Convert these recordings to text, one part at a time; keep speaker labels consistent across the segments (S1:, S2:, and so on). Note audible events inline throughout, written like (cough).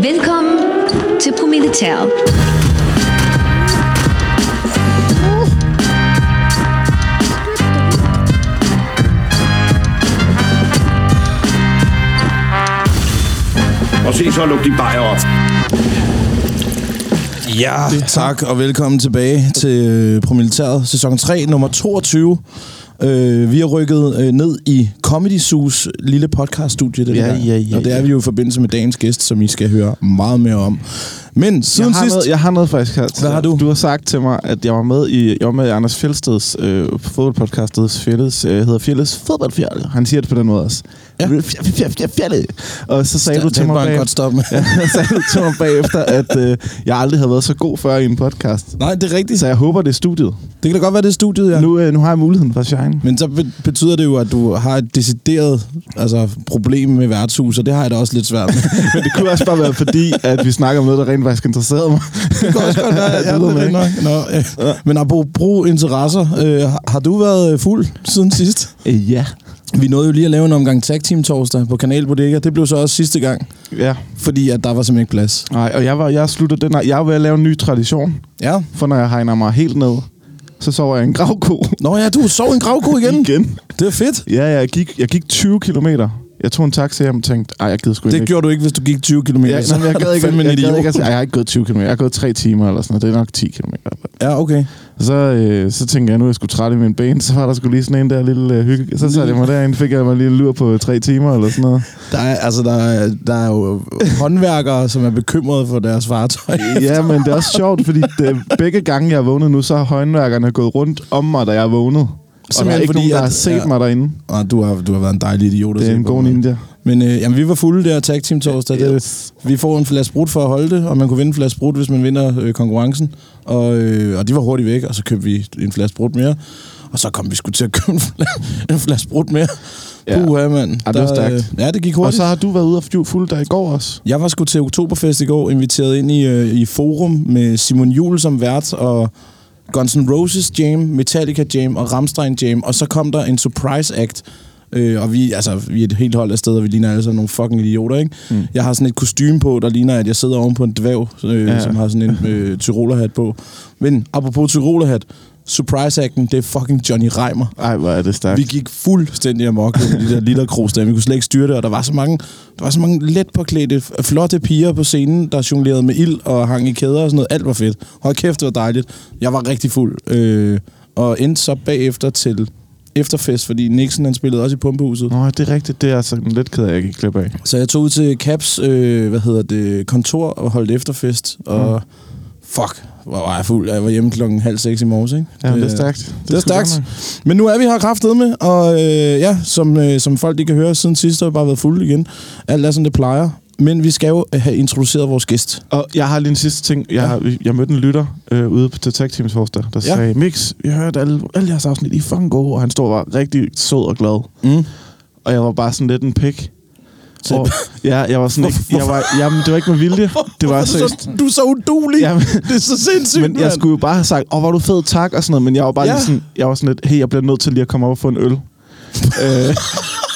S1: Velkommen til Promilletæret.
S2: Og se så luk de bajer op.
S3: Ja, tak og velkommen tilbage til øh, Promilitæret, sæson 3, nummer 22. Øh, vi har rykket øh, ned i Comedy Sus lille podcaststudie den
S4: Ja,
S3: her.
S4: ja, ja,
S3: og det er
S4: ja.
S3: vi jo i forbindelse med dagens gæst, som I skal høre meget mere om. Men siden
S4: jeg har
S3: sidst...
S4: Noget, jeg har noget faktisk her.
S3: Hvad har du?
S4: Du har sagt til mig, at jeg var med i, jeg var med i Anders Fjeldsteds øh, fodboldpodcast, der Fjeldes, øh, hedder Fjeldes Fodboldfjerde. Han siger det på den måde også.
S3: Ja.
S4: Ja. Fjerde. Og så sagde
S3: Ja,
S4: du til
S3: den
S4: mig
S3: var en
S4: bag- (laughs)
S3: godt stop med.
S4: ja, så sagde du til mig bagefter, at øh, jeg aldrig havde været så god før i en podcast.
S3: (laughs) Nej, det er rigtigt.
S4: Så jeg håber, det er studiet.
S3: Det kan da godt være, det er studiet, ja.
S4: Ja. Nu, øh, nu har jeg muligheden for at shine.
S3: Men så be- betyder det jo, at du har et decideret altså, problem med værtshus, og det har jeg da også lidt svært med.
S4: Men det kunne også bare være fordi, at vi snakker om noget, der rent faktisk interesserede mig.
S3: Det kan også godt
S4: (laughs)
S3: være,
S4: Det
S3: ja,
S4: ved
S3: det
S4: man
S3: er rigtig nok. Nå, øh, Men apropos interesser, øh, har- har du været øh, fuld siden sidst?
S4: Øh, ja.
S3: Vi nåede jo lige at lave en omgang tag team torsdag på Kanal Bodega. Det blev så også sidste gang,
S4: Ja.
S3: fordi at der var simpelthen ikke plads.
S4: Nej, og jeg, var, jeg slutter den her. Jeg er ved at lave en ny tradition.
S3: Ja.
S4: For når jeg hegner mig helt ned, så sover jeg i en gravko.
S3: Nå ja, du sov en (laughs) gravko (laughs) igen.
S4: Igen?
S3: Det er fedt.
S4: Ja, jeg gik, jeg gik 20 kilometer. Jeg tog en taxa hjem og tænkte, ej, jeg gider sgu
S3: Det
S4: ikke.
S3: gjorde du ikke, hvis du gik 20 km.
S4: jeg, jeg, jeg,
S3: (laughs)
S4: gad ikke, jeg, jeg, gad ikke at sige, ej, jeg har ikke gået 20 km. Jeg har gået 3 timer eller sådan noget. Det er nok 10 km.
S3: Ja, okay.
S4: Så, øh, så tænkte jeg, nu er jeg sgu træt i mine ben. Så var der skulle lige sådan en der lille øh, hygge. Så satte jeg mig derind, fik jeg mig lige en lur på 3 timer eller sådan noget.
S3: Der er, altså, der er, der er (laughs) jo håndværkere, som er bekymrede for deres fartøj.
S4: Ja, men det er også sjovt, fordi det, begge gange, jeg har vågnet nu, så har håndværkerne gået rundt om mig, da jeg er vågnet. Og der er
S3: Simpelthen
S4: ikke
S3: fordi,
S4: nogen, der har
S3: at-
S4: set
S3: ja.
S4: mig derinde.
S3: (laughs) Og du har, du har været en dejlig idiot at
S4: Det er
S3: se
S4: en
S3: på,
S4: god
S3: mand.
S4: ninja.
S3: Men øh, jamen, vi var fulde der tag team torsdag. Det,
S4: Yes.
S3: vi får en flaske brut for at holde det, og man kunne vinde en flaske brut, hvis man vinder øh, konkurrencen. Og, øh, og de var hurtigt væk, og så købte vi en flaske brut mere. Og så kom vi sgu til at købe en, fla- (laughs) en flaske brut mere. Ja.
S4: Ja.
S3: Puha, mand.
S4: Ja, det var
S3: Der, øh,
S4: stærkt.
S3: Ja, det gik
S4: Og
S3: hurtigt.
S4: så har du været ude og flyve fuld der i går også.
S3: Jeg var sgu til Oktoberfest i går, inviteret ind i, øh, i Forum med Simon Juhl som vært, og Guns N' Roses jam, Metallica jam og Rammstein jam, og så kom der en surprise act, øh, og vi, altså, vi er et helt hold af steder, og vi ligner alle sammen nogle fucking idioter, ikke? Mm. Jeg har sådan et kostume på, der ligner, at jeg sidder oven på en dvæv, øh, ja.
S4: Ja.
S3: som har sådan en øh, tyrolerhat på. Men apropos tyrolerhat, surprise acten, det er fucking Johnny Reimer.
S4: Ej, hvor er det stærkt.
S3: Vi gik fuldstændig amok med de der literkros der. Vi kunne slet ikke styre det, og der var så mange, der var så mange let påklædte, f- flotte piger på scenen, der jonglerede med ild og hang i kæder og sådan noget. Alt var fedt. Hold kæft, det var dejligt. Jeg var rigtig fuld. Øh, og endte så bagefter til efterfest, fordi Nixon han spillede også i pumpehuset.
S4: Nå, det er rigtigt. Det er altså en lidt ked af, jeg gik glip af.
S3: Så jeg tog ud til Caps, øh, hvad hedder det, kontor og holdt efterfest, og
S4: Mm.
S3: fuck, hvor var jeg fuld. Jeg var hjemme klokken halv seks i morges, ikke?
S4: Ja, det er stærkt.
S3: Det er
S4: sgu godt
S3: stærkt. Men nu er vi her kraftet med, og øh, ja, som, øh, som folk de kan høre, siden sidst har vi bare været fulde igen. Alt er, som det plejer. Men vi skal jo have introduceret vores gæst.
S4: nok. Og jeg har lige en sidste ting. Jeg, har, jeg mødte en lytter øh, ude på Detect Teams Forster, der
S3: Ja.
S4: ja. sagde, Mix, jeg hørte alle, alle jeres afsnit, I er fucking gode. Og han stod og var rigtig sød og glad.
S3: Mm.
S4: Og jeg var bare sådan lidt en pik.
S3: Så-
S4: Og, ja, jeg var (laughs) sådan ikke... Jeg var, jamen, det var ikke med (laughs) vilje. Det var
S3: du, er
S4: seriøst.
S3: så, du er så udulig.
S4: Jamen,
S3: det er så sindssygt,
S4: Men jeg
S3: mand.
S4: skulle jo bare have sagt, åh, hvor er du fed, tak, og sådan noget. Men jeg var bare
S3: Ja.
S4: ja. lige sådan, jeg var sådan lidt, hey, jeg bliver nødt til lige at komme op og få en
S3: (laughs)
S4: øl. øh,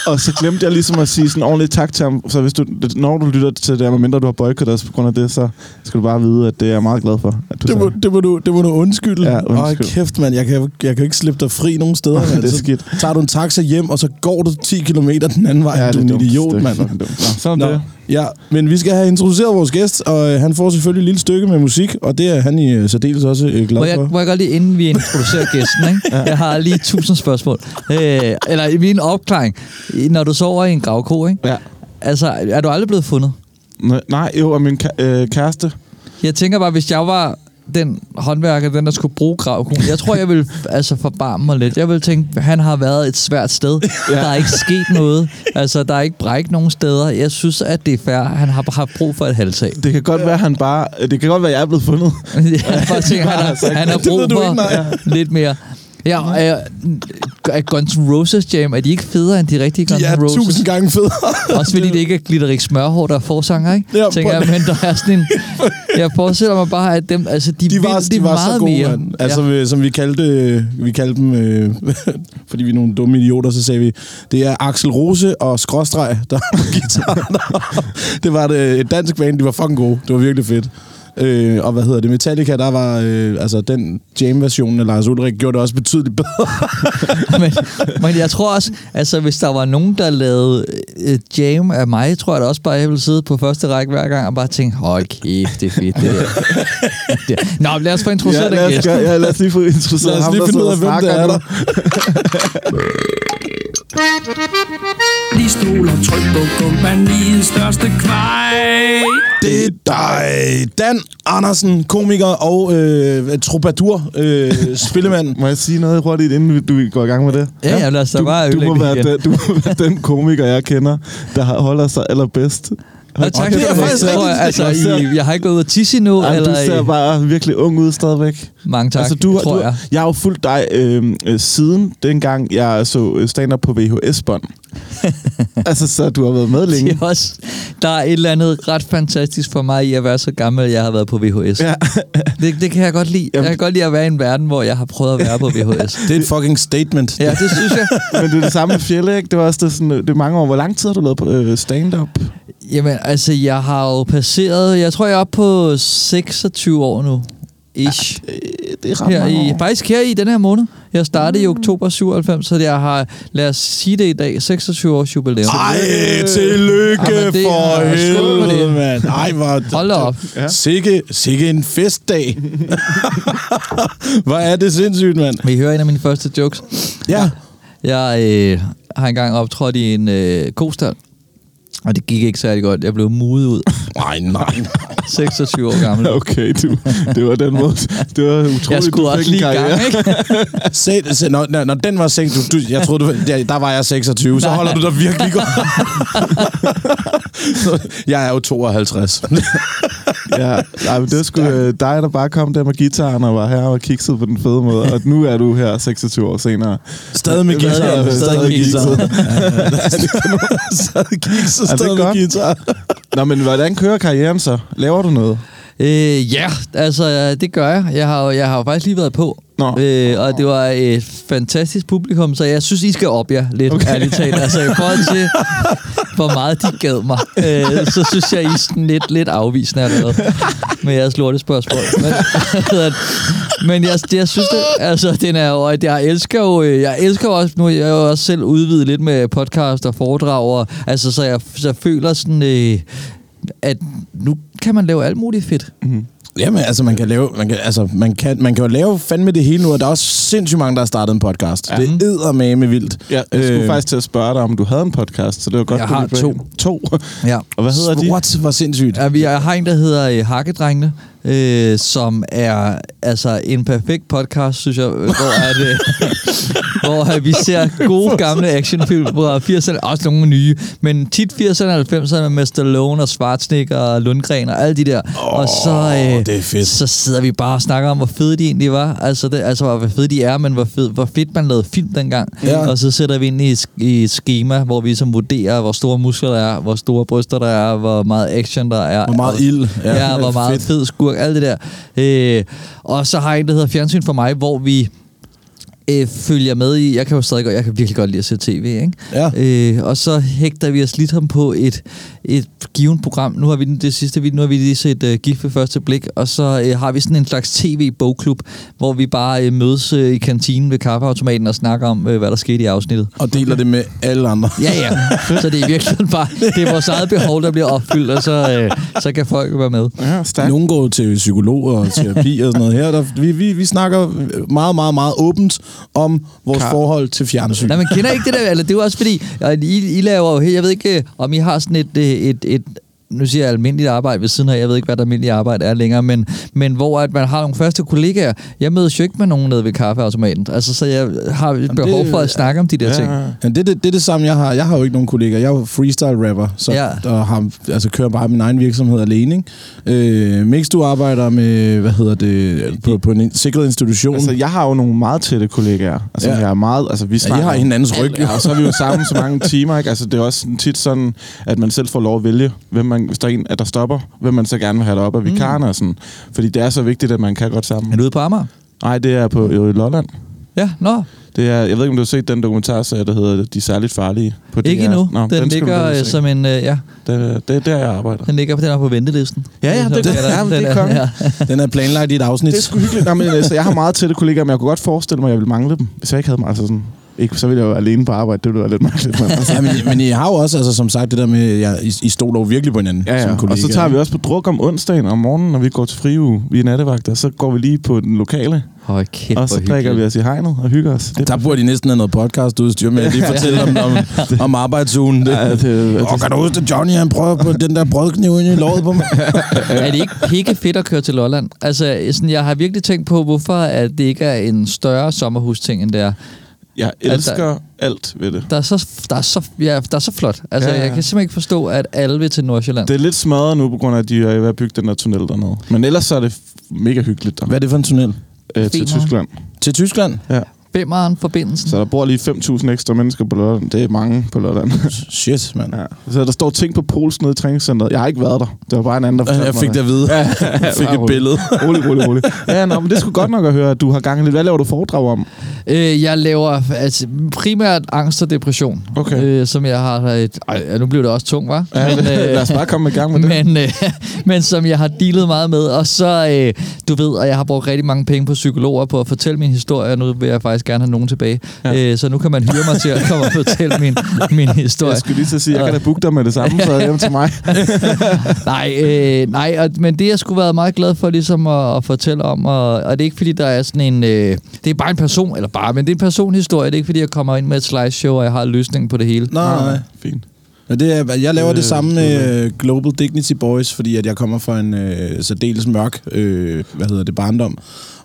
S4: og så glemte jeg ligesom at sige sådan ordentligt tak til ham. Så hvis du, når du lytter til det her, medmindre du har boykottet os på grund af det, så skal du bare vide, at det er jeg meget glad for. At du
S3: Det må,
S4: sagde.
S3: det, må du, det må du undskylde.
S4: Ja,
S3: Åh,
S4: undskyld.
S3: kæft, mand. Jeg kan, jeg kan ikke slippe dig fri nogen steder.
S4: Åh,
S3: mand.
S4: det er
S3: Så
S4: skidt.
S3: Tager du en taxa hjem, og så går du 10 km den anden vej.
S4: Ja,
S3: du er
S4: det er
S3: en
S4: dumt. Det
S3: idiot,
S4: er
S3: mand.
S4: fucking (laughs) dumt. Nå, sådan
S3: Nå,
S4: er det.
S3: Ja, men vi skal have introduceret vores gæst, og øh, han får selvfølgelig et lille stykke med musik, og det er han i øh, særdeles også øh, glad
S5: Må
S3: for.
S5: jeg, må jeg godt lige, inden vi introducerer gæsten, ikke? jeg har lige tusind spørgsmål. Øh, eller min opklaring. I- Når du sover i en gravko, ikke?
S4: Ja.
S5: Altså, er du aldrig blevet fundet?
S4: Nå, Nej, jo, og min ka- øh, kæreste.
S5: Jeg tænker bare, hvis jeg var den håndværker, den der skulle bruge gravkoen, jeg tror, jeg ville altså forbarme mig lidt. Jeg ville tænke, han har været et svært sted. Ja. Der er ikke sket noget. Altså, der er ikke bræk nogen steder. Jeg synes, at det er fair. Han har haft brug for et halvtag.
S4: Det kan godt være, han øh,
S5: (laughs)
S4: bare... Det kan godt være, jeg er blevet fundet.
S5: Ja, for at tænke, han, har, han
S3: (laughs)
S5: har
S3: Det ved
S5: brug
S3: du ikke,
S5: for lidt mere. Ja, øh, er Guns N' Roses Jam, er de ikke federe end de rigtige Guns
S3: De er
S5: N' Roses?
S3: tusind gange federe.
S5: (laughs) Også fordi det ikke er Glitterik Smørhår, der er forsanger, ikke?
S3: Ja,
S5: Ja, Tænker
S3: prøv-
S5: jeg, men der er sådan
S3: (laughs)
S5: en... Jeg forestiller mig bare, at dem... Altså, de,
S3: De var,
S5: vil det
S3: de var
S5: meget
S3: så gode,
S5: mere.
S3: mand. Altså, ja. som vi kaldte, øh, vi kaldte dem, øh, (laughs) fordi vi er nogle dumme idioter, så sagde vi, det er Axel Rose og Skråstreg, der er på (laughs) guitaren. det var det, et dansk band, de var fucking gode. Det var virkelig fedt. Øh, og hvad hedder det? Metallica, der var øh, altså den jam-version af Lars Ulrik, gjorde det også betydeligt bedre.
S5: men, (laughs) men jeg tror også, altså hvis der var nogen, der lavede øh, jam af mig, tror jeg da også bare, jeg ville sidde på første række hver gang og bare tænke, høj kæft, det er fedt det der.
S3: (laughs)
S5: det. Nå, men lad os få introduceret ja,
S4: lad
S5: den
S4: os,
S5: gæst.
S4: gøre- ja, (laughs) lad os lige få introduceret
S3: Lad os
S4: ham,
S3: lige
S4: der
S3: finde ud af,
S4: sidder og
S3: hvem det er,
S4: snakker
S3: der.
S2: De stoler tryk på kompaniets største kvej.
S3: Det er dig, Dan Andersen, komiker og øh, troubadour,
S4: (laughs)
S3: øh, spillemand.
S4: nu. Må jeg sige noget hurtigt, inden du går i gang med det?
S5: Ja, ja, lad os da
S4: du,
S5: bare
S4: du, må
S5: ødelægge
S4: være
S5: det igen.
S4: den, du må
S5: (laughs)
S4: være den komiker, jeg kender, der har- holder sig allerbedst.
S5: Nå, tak,
S3: det er
S5: skal du
S3: faktisk
S5: have. Jeg
S3: rigtigt.
S5: tror, Altså,
S4: Jeg ser-
S5: I, jeg har ikke gået ud at tisse endnu,
S4: Ej,
S5: eller... øh,
S4: du ser
S5: i-
S4: bare virkelig ung ud stadigvæk.
S5: Mange tak,
S4: altså, du,
S5: tror
S4: du,
S5: jeg.
S4: Jeg har jo fulgt dig øh, øh, siden dengang, jeg så øh, stand-up på
S5: (laughs)
S4: VHS-bånd. altså, så du har været med
S5: Det
S4: længe.
S5: er også, der er et eller andet ret fantastisk for mig i at være så gammel, at jeg har været på VHS.
S4: Ja.
S5: (laughs) Det, det kan jeg godt lide. Jeg kan godt lide at være i en verden, hvor jeg har prøvet at være på
S4: (laughs)
S5: VHS.
S3: Det er et fucking statement.
S5: Ja, det synes jeg.
S4: Men det er det samme med Fjelle, ikke? Det var også det, sådan, øh, det er mange år. Hvor lang tid har du lavet på, øh, stand-up?
S5: Jamen, altså, jeg har jo passeret... Jeg tror, jeg er oppe på 26 år nu. Ish.
S4: Øh, det er ret
S5: Her
S4: mange
S5: i,
S4: år.
S5: faktisk her i den her måned. Jeg startede i oktober 97, så jeg har, lad os sige det i dag, 26 års jubilæum.
S3: Ej, tillykke
S5: Jamen, det
S3: for
S5: er- skål for
S3: helvede,
S5: det.
S3: mand. Ej, hvor...
S5: Hold da op.
S3: Ja. Sikke, sikke en festdag. hvor er det sindssygt, mand.
S5: Vi hører en af mine første jokes.
S3: Ja.
S5: Jeg øh, har engang optrådt i en øh, kostal, og det gik ikke særlig godt. Jeg blev mudet
S4: (laughs)
S5: ud,
S3: Nej, nej.
S5: 26 år gammel.
S4: Okay, du, det var den måde. Det var utroligt,
S5: Jeg skulle
S4: du fik en
S5: også lige i gang, (laughs)
S4: karriere. (laughs)
S5: ikke?
S3: Se, se, når, når, når den var seng, du, du, jeg troede, du, der, der var jeg 26, så holder du dig virkelig godt. Så, jeg er jo 52.
S4: Ja, nej, men det var sgu øh, dig, der bare kom der med gitaren og var her og kiksede på den fede måde. Og nu er du her 26 år senere.
S3: Stadig med
S4: Hvad er det?
S3: guitar.
S4: Stadig med
S3: Stadig kikset,
S4: Er det
S3: stadig med
S4: godt?
S3: guitar.
S4: Nå, men hvordan kører karrieren så? Laver du noget?
S5: Øh, ja, altså øh, det gør jeg. Jeg har, jo- jeg har jo faktisk lige været på.
S4: Nå.
S5: Øh, og det var et fantastisk publikum, så jeg synes, I skal op jer lidt, okay. ærligt talt. Altså i forhold til,
S4: (laughs)
S5: hvor meget de gav mig, øh, så synes jeg, I er sådan lidt, lidt afvisende allerede med jeres lorte spørgsmål. Men, (laughs) men jeg, det, jeg synes, det, altså, den er jo, at jeg elsker jo, øh, jeg elsker jo også, nu er jeg jo også selv udvidet lidt med podcast og foredrag, og, altså, så jeg, så jeg føler sådan, øh, at nu kan man lave alt muligt fedt.
S3: Jamen, altså, man kan, lave, man, kan, altså, man, kan, man kan jo lave fandme det hele nu, og der er også sindssygt mange, der har startet en podcast. Ja. Det er med vildt.
S4: Mhm. Ja, jeg skulle
S3: Øh,
S4: øh, faktisk til at spørge dig, om du havde en podcast, så det var godt,
S5: Jeg
S4: du
S5: har
S4: lige
S5: to.
S4: bag- To?
S5: Ja.
S4: Og hvad hedder de?
S3: What? Hvor sindssygt.
S5: Ja, vi jeg har en, der hedder øh, Hakkedrengene, øh, som er altså en perfekt podcast, synes jeg, øh, hvor, at, øh,
S3: (laughs)
S5: hvor at vi ser gode gamle actionfilm fra 80'erne, også nogle nye, men tit 80'erne og 90'erne med Stallone og Schwarzenegger og Lundgren og alle de der. Oh, og så, øh,
S3: det er fedt.
S5: så sidder vi bare og snakker om, hvor fede de egentlig var. Altså, det, altså hvor fede de er, men hvor, fed, hvor fedt man lavede film dengang.
S3: Ja.
S5: Ja. Og så sætter vi ind i, et sk- i et schema, hvor vi som vurderer, hvor store muskler der er, hvor store bryster der er, hvor meget action der er.
S3: Hvor meget
S5: og-
S3: ild.
S5: Ja, ja hvor meget
S3: Fedt.
S5: fed skurk, alt det der. Øh, og så har jeg en, der hedder Fjernsyn for mig, hvor vi øh, følger med i, jeg kan jo stadig godt, jeg kan virkelig godt lide at se tv, ikke?
S3: Ja.
S5: Øh, og så hægter vi os lidt ham på et, et givet program. Nu har vi den- det sidste video, nu har vi lige set uh, Gift ved første blik, og så øh, har vi sådan en slags tv-bogklub, hvor vi bare øh, mødes øh, i kantinen ved kaffeautomaten og snakker om, øh, hvad der skete i afsnittet.
S3: Og deler det med alle andre.
S5: Ja, ja. (laughs) så det er virkelig bare, det er vores eget behov, der bliver opfyldt, og så, øh, så kan folk jo være med.
S4: Ja, stærkt.
S3: Nogle går til psykologer
S4: (laughs)
S3: og terapi og sådan noget her. Der, vi, vi, vi snakker meget, meget, meget åbent om vores Kar.
S4: Kar-
S3: forhold til fjernsyn.
S5: Nej, man kender ikke det der, eller det er jo også fordi, og I, I laver jo, he- jeg ved ikke, øh, om I har sådan et, øh, et, et nu siger jeg almindeligt arbejde ved siden af, jeg ved ikke, hvad der almindeligt arbejde er længere, men, men hvor at man har nogle faste kollegaer. Jeg mødes jo ikke med nogen nede ved kaffeautomaten, altså, så jeg har et behov for at snakke om de der ja. ting.
S3: Ja, det, er det, det er det samme, jeg har. Jeg har jo ikke nogen kollegaer. Jeg er jo freestyle rapper, så
S5: Ja.
S3: ja. og har, altså, kører bare min egen virksomhed alene. Ikke? Øh, Mix, du arbejder med, hvad hedder det, på, på en in- sikret institution.
S4: Altså,
S3: Altså,
S4: jeg har jo nogle meget tætte kollegaer. Altså,
S3: Ja.
S4: jeg er meget... Altså, vi
S3: ja,
S4: snakker...
S3: I har hinandens ryg.
S4: Alt, ja, og så er vi jo sammen så mange timer, ikke? Altså, det er også tit sådan, at man selv får lov at vælge, hvem man, hvis der er en, at der stopper, hvem man så gerne vil have deroppe af vikarerne og sådan. Fordi det er så vigtigt, at man kan godt
S5: Er
S4: sammen.
S5: du ude på Amager?
S4: Nej, det er på jo, i Lolland.
S5: Ja, nå.
S4: Det er, jeg ved ikke, om du har set den dokumentarserie, der hedder De Særligt Farlige. På
S5: Ikke
S4: DR.
S5: endnu. den, den
S4: skal du
S5: ligger
S4: ned
S5: øh,
S4: og se.
S5: som en, øh, ja,
S4: Det, er- det er der, jeg arbejder.
S5: den ligger den er på ventelisten.
S4: Ja, ja, det-
S5: sådan,
S4: ja, men det er
S5: den
S4: kongen.
S5: ja.
S3: Den er planlagt i et afsnit.
S4: Det er sgu hyggeligt. Nej, men, altså, jeg har meget tætte kollegaer, men jeg kunne godt forestille mig, at jeg ville mangle dem, hvis jeg ikke havde mig. Altså sådan, ikke, så ville jeg jo være alene på arbejde. Det ville være lidt mærkeligt.
S3: (laughs)
S4: Men, altså,
S3: ja, men, men I har jo også, altså, som sagt, det der med, ja, I, I stoler jo virkelig på hinanden
S4: ja,
S3: som
S4: ja.
S3: kollegaer.
S4: Og så tager vi også på druk om onsdagen om morgenen, når vi går til friuge. Vi er nattevagter, så går vi lige på den lokale,
S5: Høj kæft,
S4: og så
S5: hvor
S4: drikker vi
S5: hyggeligt.
S4: os i hegnet og hygger os. Det,
S3: Der burde de næsten have noget podcastudstyr med at
S4: (laughs)
S3: lige fortælle om, om, om arbejdsugen. Det.
S4: Ja, det-
S3: Åh, kan du huske, at Johnny han prøver på den der brødkniv ind i låret på mig?
S4: (laughs)
S5: Er det ikke pikke fedt at køre til Lolland? Altså, sådan, jeg har virkelig tænkt på, hvorfor at det ikke er en større sommerhusting, end det er.
S4: jeg
S5: Altså-
S4: elsker alt ved det.
S5: Der er så, der er så, ja, der er så flot. Altså,
S4: Ja,
S5: ja,
S4: ja.
S5: ja. jeg kan simpelthen ikke forstå, at alle vil til Nordsjælland.
S4: Det
S5: Det.
S4: er lidt smadret nu, på grund af, at de er ved at bygge den der tunnel dernede. Men ellers så er det f- mega hyggeligt der,
S3: Hvad er det for en tunnel?
S4: øh, til
S5: Femern.
S4: Tyskland.
S3: Til Tyskland?
S4: Ja.
S5: Bemmeren, forbindelsen.
S4: Så der bor lige 5.000 ekstra mennesker på lørdagen. Det er mange på lørdagen.
S3: Shit, mand.
S4: Ja. Så der står ting på polsk nede i træningscenteret. Jeg har ikke været der. Det var bare en anden, der fortalte
S3: Jeg
S4: mig
S3: fik det at vide. Jeg (laughs) fik et (laughs) billede.
S4: rolig, rolig, rolig. Ja, nå, men det skulle godt nok at høre, at du har gang i lidt. Hvad laver du foredrag om?
S5: Øh, jeg laver altså, primært angst og depression,
S4: Okay.
S5: øh, som jeg har... Et, ej, ja, nu blev det også tungt, øh, var?
S4: Ja, men, (laughs) lad
S3: øh,
S4: os bare komme i gang med det.
S5: men, øh, (laughs) men som jeg har dealet meget med. Og så, øh, du ved, at jeg har brugt rigtig mange penge på psykologer på at fortælle min historie, og nu vil jeg faktisk gerne have nogen tilbage. Ja. Øh, så nu kan man hyre mig til at komme og fortælle min, min historie.
S4: Jeg skulle lige så sige, at jeg kan da booke dig med det samme, så hjem til mig.
S5: Nej, øh, nej og, men det jeg skulle været meget glad for ligesom at, at fortælle om, og, og det er ikke fordi, der er sådan en... Øh, det er bare en person, eller bare, men det er en personhistorie. Det er ikke fordi, jeg kommer ind med et slideshow, og jeg har løsningen på det hele.
S3: Nej.
S4: (laughs) Fint.
S3: Men det er, jeg laver
S4: Øh,
S3: det samme med øh, Global Dignity Boys, fordi at jeg kommer fra en øh, særdeles mørk øh, hvad hedder det, barndom.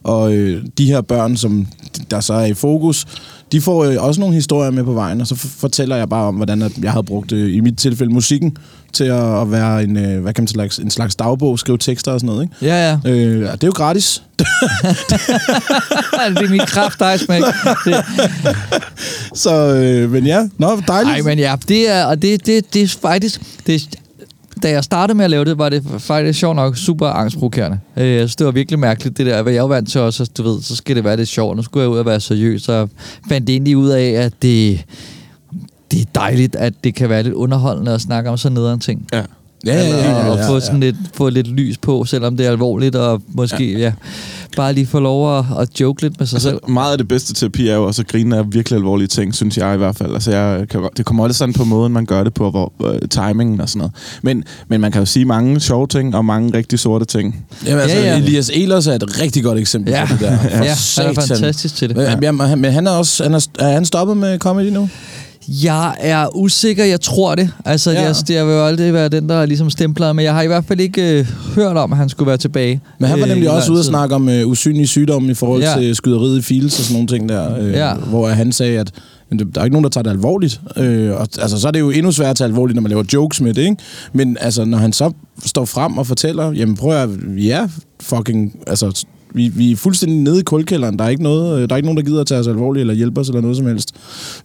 S3: Og øh, de her børn, som der så er i fokus, de får øh, også nogle historier med på vejen, og så f- fortæller jeg bare om, hvordan at jeg havde brugt, øh, i mit tilfælde, musikken til at, at være en, øh, hvad kan man slags, en slags dagbog, skrive tekster og sådan noget. Ikke?
S5: Ja, ja.
S3: Øh, og det er jo gratis.
S5: det er min kraft, dig, smæk. Det,
S3: Så, øh, men ja, nå, dejligt.
S5: Nej, men ja, det er, og det, det, det er faktisk... Det, er- da jeg startede med at lave det, var det faktisk sjovt nok super angstprovokerende. Øh, jeg synes, det var virkelig mærkeligt, det der. Hvad jeg er jo vant til også, at du ved, så skal det være lidt sjovt. Nu skulle jeg ud og være seriøs, og fandt egentlig ud af, at det, det er dejligt, at det kan være lidt underholdende at snakke om sådan nederen ting.
S4: Ja.
S3: ja, ja, ja, ja,
S5: og
S3: ja,
S5: få,
S3: ja.
S5: sådan Lidt, få lidt lys på, selvom det er alvorligt, og måske ja. Ja, bare lige få lov at, at joke lidt med sig selv.
S4: Altså, meget af det bedste terapi er jo også at grine af virkelig alvorlige ting, synes jeg i hvert fald. Altså, jeg kan, godt- det kommer også sådan på måden, man gør det på, hvor, øh, timingen og sådan noget. Men, men man kan jo sige mange sjove ting og mange rigtig sorte ting.
S3: Jamen, altså,
S5: Ja,
S3: ja,
S5: ja.
S3: ja. Elias Ehlers er et rigtig godt eksempel
S5: (laughs) Ja.
S3: på det der. For
S5: Ja, han er
S3: satan.
S5: fantastisk til det.
S3: Ja. Jamen, han- men han er også han er, er han stoppet med comedy nu?
S5: Jeg er usikker, jeg tror det. Altså, ja.
S3: Ja.
S5: jeg, jeg vil jo aldrig være den, der ligesom stempler, men jeg har i hvert fald ikke øh, hørt om, at han skulle være tilbage.
S3: Men han var
S5: øh,
S3: nemlig
S5: i
S3: også
S5: lang
S3: ude og
S5: tid.
S3: snakke om øh, usynlige sygdomme i forhold
S5: Ja.
S3: ja. til skyderiet i Fields og sådan nogle ting der, øh,
S5: Ja.
S3: ja. hvor han sagde, at men det- der er ikke nogen, der tager det alvorligt. Øh, og, altså, så er det jo endnu sværere at tage alvorligt, når man laver jokes med det, ikke? Men altså, når han så står frem og fortæller, jamen prøv at vi er fucking... Altså, vi, vi er fuldstændig nede i kulkælderen. Der er, ikke noget, øh, der er ikke nogen, der gider at tage os alvorligt eller hjælpe os eller noget som helst.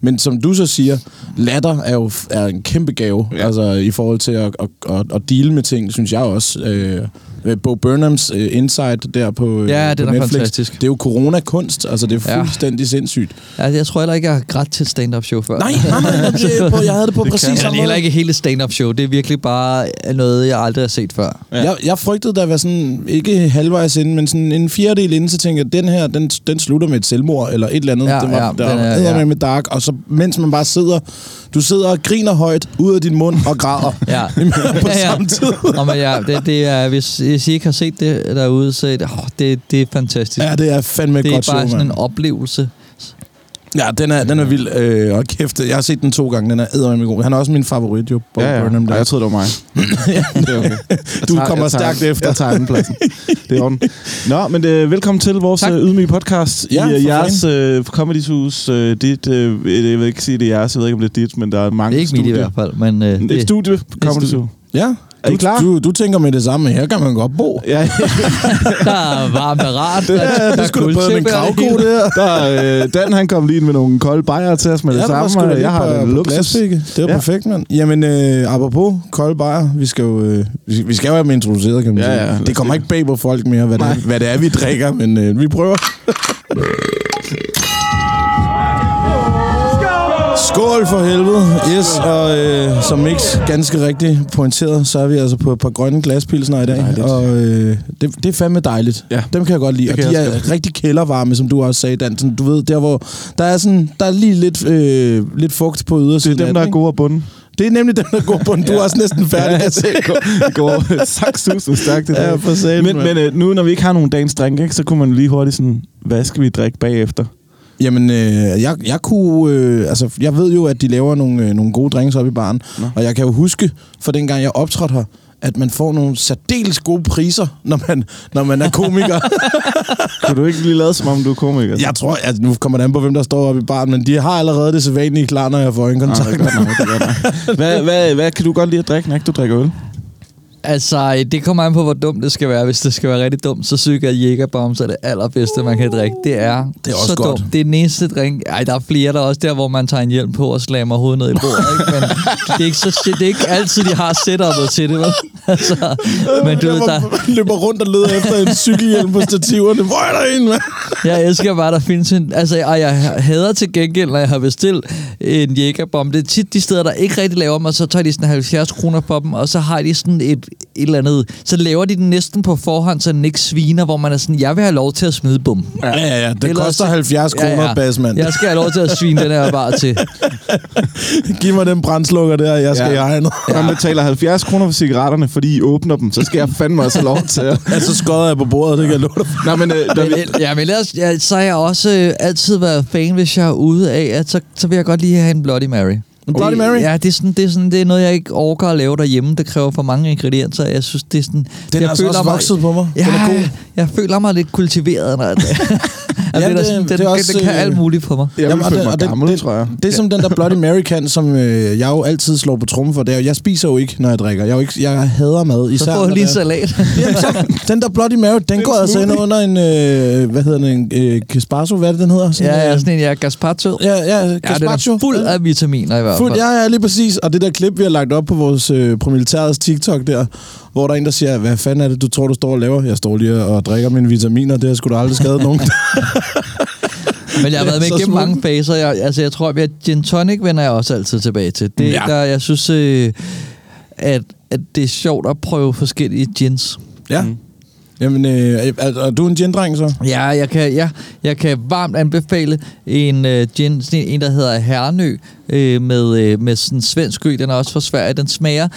S3: Men som du så siger, latter er jo f- er en kæmpe gave
S4: Ja.
S3: ja. altså, i forhold til at, at, at, at deale med ting, synes jeg også. Øh, øh, Bo Burnhams øh, Insight der på, øh,
S5: Ja, den
S3: på
S5: er
S3: Netflix,
S5: fantastisk.
S3: det er jo coronakunst. Altså, det er
S5: Ja.
S3: fuldstændig ja. sindssygt.
S5: Altså, jeg tror heller ikke, jeg har grædt til et stand-up-show før.
S3: Nej, nej, nej, det, på, jeg havde det på
S4: Det
S3: det præcis
S4: kan
S5: Eller det
S3: samme
S5: er heller
S3: måde.
S5: ikke hele stand-up-show. Det er virkelig bare noget, jeg aldrig har set før.
S4: Ja.
S3: Jeg, jeg frygtede da at være sådan, ikke halvvejs inde, men sådan en fjerdedel inde, så tænkte jeg, den her, den, den slutter med et selvmord, eller et eller andet.
S5: Ja,
S3: den var,
S5: ja,
S3: der
S5: den er-
S3: var
S5: ja.
S3: med med dark, og så mens man bare sidder, du sidder og griner højt ud af din mund og (laughs) græder
S5: Ja.
S3: på samme tid.
S5: Nå, men ja, det, det er, hvis, hvis I ikke har set det derude, så er det, oh, det, det er fantastisk.
S3: Ja, det er fandme et
S5: det er
S3: godt
S5: bare
S3: show,
S5: sådan
S3: mand.
S5: en oplevelse.
S3: Ja, den er, den er vild. Øh, og kæft, jeg har set den to gange. Den er eddermame god. Han er også min favorit, jo. Bo
S4: Ja, ja.
S3: Burnham,
S4: Ej,
S3: der.
S4: jeg troede,
S3: (laughs)
S4: det var mig. Det er okay. Jeg
S3: Du
S4: tager-
S3: kommer
S4: jeg tager-
S3: stærkt efter.
S4: Jeg tager anden pladsen. Det er orden. Nå, men øh, velkommen til vores
S5: Tak.
S4: øh, ydmyge podcast
S3: Ja,
S4: i øh,
S3: for
S4: jeres øh, Comedy Hus. Øh, dit, øh, jeg vil ikke sige, det er jeres, jeg ved ikke, om det er dit, men der er mange
S5: Det er ikke mit i
S4: studier.
S5: hvert fald, men øh,
S4: Det er et
S5: det,
S4: studie på Comedy
S5: studie.
S4: Zoo.
S3: Ja.
S4: Er I
S3: Du,
S4: klar?
S3: Du, du tænker med det samme. Her kan man godt bo.
S4: Ja, (laughs)
S5: der er varmt og rart. Der,
S3: (laughs) Ja,
S5: der
S3: du
S5: er
S3: skulle da prøve med en
S5: guldtæppe og det
S3: kravko
S5: hele.
S3: der.
S4: der, er, øh, Dan han kom lige ind med nogle kolde bajere til os med det
S3: der var
S4: samme,
S3: sgu da
S4: og
S3: lige
S4: jeg har
S3: på-
S4: en
S3: på
S4: luksus.
S3: glasvægge. Det er
S4: Ja.
S3: ja. perfekt, mand. Jamen, øh, apropos kolde bajer, vi skal jo øh, vi vi skal jo have dem introduceret, kan man
S4: Ja,
S3: sige.
S4: ja, lad os
S3: det kommer ikke bag på folk mere, hvad det, er, hvad det er, vi drikker, men øh, vi prøver. Skål for helvede. Yes, og øh, som Mix ganske rigtigt pointeret, så er vi altså på et par grønne glaspilsner i dag.
S4: Dejligt.
S3: Og øh, det, det er fandme dejligt.
S4: Ja.
S3: Dem kan jeg godt lide.
S4: Det
S3: Og
S4: kan
S3: de
S4: jeg
S3: er
S4: også
S3: rigtig kældervarme, som du også sagde, Dan. Sådan, du ved, der hvor der er, sådan, der er lige lidt, øh, lidt fugt på ydersiden.
S4: Det er dem,
S3: af
S4: der er
S3: den,
S4: gode at bunde.
S3: ikke? Det er nemlig dem, der er gode på den. Du er også næsten færdig. Ja,
S4: (laughs) det går, går saksusen stærkt. Det
S3: Ja,
S4: der.
S3: for satan,
S4: men,
S3: mand.
S4: men øh, nu, når vi ikke har nogen dagens drink, ikke, så kunne man lige hurtigt sådan, hvad skal vi drikke bagefter?
S3: Jamen, øh, jeg, jeg kunne... Øh, altså, jeg ved jo, at de laver nogle, øh, nogle gode drinks op i baren. Nå. Og jeg kan jo huske, for dengang jeg optrådte her, at man får nogle særdeles gode priser, når man, når man er
S4: (laughs)
S3: komiker.
S4: Kunne du ikke lige lade, som om du er komiker?
S3: jeg tror, at nu kommer det an på, hvem der står oppe i baren, men de har allerede det sædvanlige klar, når jeg får
S4: Nå, det
S3: øjenkontakt.
S4: er godt nok, det er godt nok. Hvad, hvad, hvad kan du godt lide at drikke, når ikke du drikker øl?
S5: Altså, øh, det kommer an på, hvor dumt det skal være. Hvis det skal være rigtig dumt, så synes jeg, at Jägerbombs er det allerbedste, man kan drikke. Det er,
S3: Det er også
S5: så
S3: godt.
S5: dumt. Det er den eneste drink. Ej, der er flere der er også der, hvor man tager en hjelm på og slammer hovedet ned i bordet. Ikke? Men det er ikke, så, det er ikke altid, de har setupet til det. Vel? (laughs) Altså,
S3: Øh,
S5: men du ved, der,
S3: der... løber rundt og leder efter en cykelhjelm på stativerne. Hvor er der en, mand?
S5: Jeg elsker bare, der findes en... Altså, og jeg hader til gengæld, når jeg har bestilt en jægerbombe. Det er tit de steder, der ikke rigtig laver dem, og så tager de sådan 70 kroner på dem, og så har de sådan et, et eller andet... Så laver de den næsten på forhånd, så den ikke sviner, hvor man er sådan, jeg vil have lov til at smide bomben.
S3: Ja, ja, ja. Det
S5: Ellers-
S3: koster 70 kroner, ja, ja. bas, mand.
S5: Jeg skal have lov til at svine den her bare til.
S3: Giv mig den brændslukker der, jeg skal
S4: Ja.
S3: ja. i egnet.
S4: Ja. Man betaler 70 kroner for cigaretterne, fordi I åbner dem. Så skal jeg fandme også have lov til at...
S3: Ja, så Altså, skodder jeg på bordet, det kan jeg love dig.
S4: Nej, men, øh, der,
S5: Men, el- ja, men ellers, ja, så har jeg også øh, altid været fan, hvis jeg er ude af, at så, så vil jeg godt lige have en Bloody Mary. En
S3: Bloody Mary?
S5: Ja, det er, sådan, det, er sådan, det er noget, jeg ikke orker at lave derhjemme. Det kræver for mange ingredienser. Jeg synes, det er sådan...
S3: Den
S5: jeg
S3: er altså også vokset på mig.
S5: Ja,
S3: Den er god.
S5: jeg føler mig lidt kultiveret.
S3: (laughs)
S5: Når jeg, altså, ja, det, er
S3: det-
S5: da sådan, den,
S3: det er
S5: det, den,
S3: også,
S5: den kan
S3: øh,
S5: alt muligt for mig.
S4: jeg vil
S3: og
S4: føle
S3: det-
S4: mig
S3: og det-
S4: gammel,
S3: det-
S4: tror jeg.
S3: Det, som den der Bloody Mary kan, som øh, jeg jo altid slår på trummen for, det er jo, jeg spiser jo ikke, når jeg drikker. Jeg, er jo ikke, jeg hader mad,
S5: Så
S3: især
S5: får
S3: når
S5: jeg lige
S3: det er-
S5: salat.
S3: Jamen, så, den der Bloody Mary, den går altså ind under en, øh, hvad hedder den, en øh, Caspasso, hvad er det, den hedder?
S5: (laughs) ja, ja,
S3: øh,
S5: sådan en, jeg er gazpacho. Ja,
S3: ja, ja,
S5: ja, den
S3: Caspacho.
S5: er fuld af vitaminer i hvert fald.
S3: Fuld, ja, ja, lige præcis. Og det der klip, vi har lagt op på vores øh, promilitærets TikTok der, hvor der er en, der siger, hvad fanden er det, du tror, du står og laver? Jeg står lige og drikker mine vitaminer, det har sgu da aldrig skadet nogen.
S5: Men jeg har været med
S3: Så
S5: igennem
S3: smuk.
S5: mange faser. Jeg, altså, jeg tror, at gin tonic vender jeg også altid tilbage til. Det,
S3: Ja.
S5: ja. der, jeg synes, øh, at, at det er sjovt at prøve forskellige gins.
S3: (laughs) ja. Mm. Jamen, øh, er, er du en gin-dreng så?
S5: Ja, jeg kan, ja, jeg kan varmt anbefale en øh, gin, sådan en, en, der hedder Hernø, øh, med, øh, med sådan en svensk ø, den er også fra Sverige, den smager.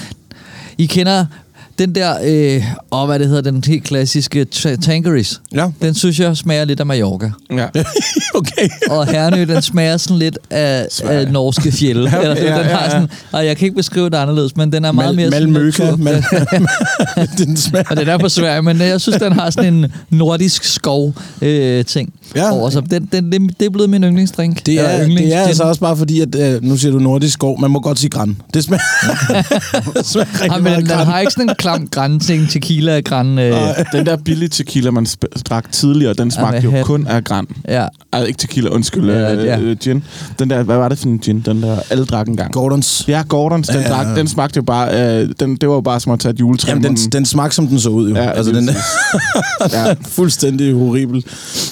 S5: I kender den der, øh, og hvad det hedder, den helt klassiske ta- Tangeris.
S3: Ja.
S5: Den synes jeg smager lidt af Mallorca.
S4: Ja.
S3: (laughs) okay.
S5: og Hernø, den smager sådan lidt af, af norske fjelle.
S3: (laughs)
S5: ja, eller sådan, ja, ja, ja. Den har sådan, og jeg kan ikke beskrive det anderledes, men den er meget mere... sådan
S3: Malmøka.
S5: natur-
S3: Mal- (laughs) den smager.
S5: og den er på Sverige, men øh, jeg synes, den har sådan en nordisk skov-ting øh, ting
S3: Ja.
S5: over sig. Den, den, det, det er blevet min yndlingsdrink.
S3: Det
S5: Eller
S3: er, det er
S5: yndlingsgin.
S3: altså også bare fordi, at øh, nu siger du nordisk skov. Man må godt sige græn. Det smager, (laughs) det smager rigtig
S5: Ej, men
S3: meget
S5: den, den
S3: græn.
S5: har ikke sådan en klam grænting, tequila græn. Øh,
S4: Den der billige tequila, man sp- drak tidligere, den smagte jo
S5: hvad
S4: kun af gran.
S5: ja.
S4: Ej, ikke tequila, undskyld.
S5: Ja,
S4: Øh,
S5: ja.
S4: øh, gin. Den der, hvad var det for en gin? Den der, alle drak en gang.
S3: Gordons.
S4: Ja, Gordons, den,
S3: Ja.
S4: ja. Drak, den smagte jo bare, øh, den, det var jo bare som at tage et juletræ. i
S3: Jamen, den,
S4: munden.
S3: den smagte, som den så ud, jo.
S4: Ja,
S3: altså,
S4: lige
S3: den
S4: Ja. (laughs)
S3: er (laughs) fuldstændig horribel.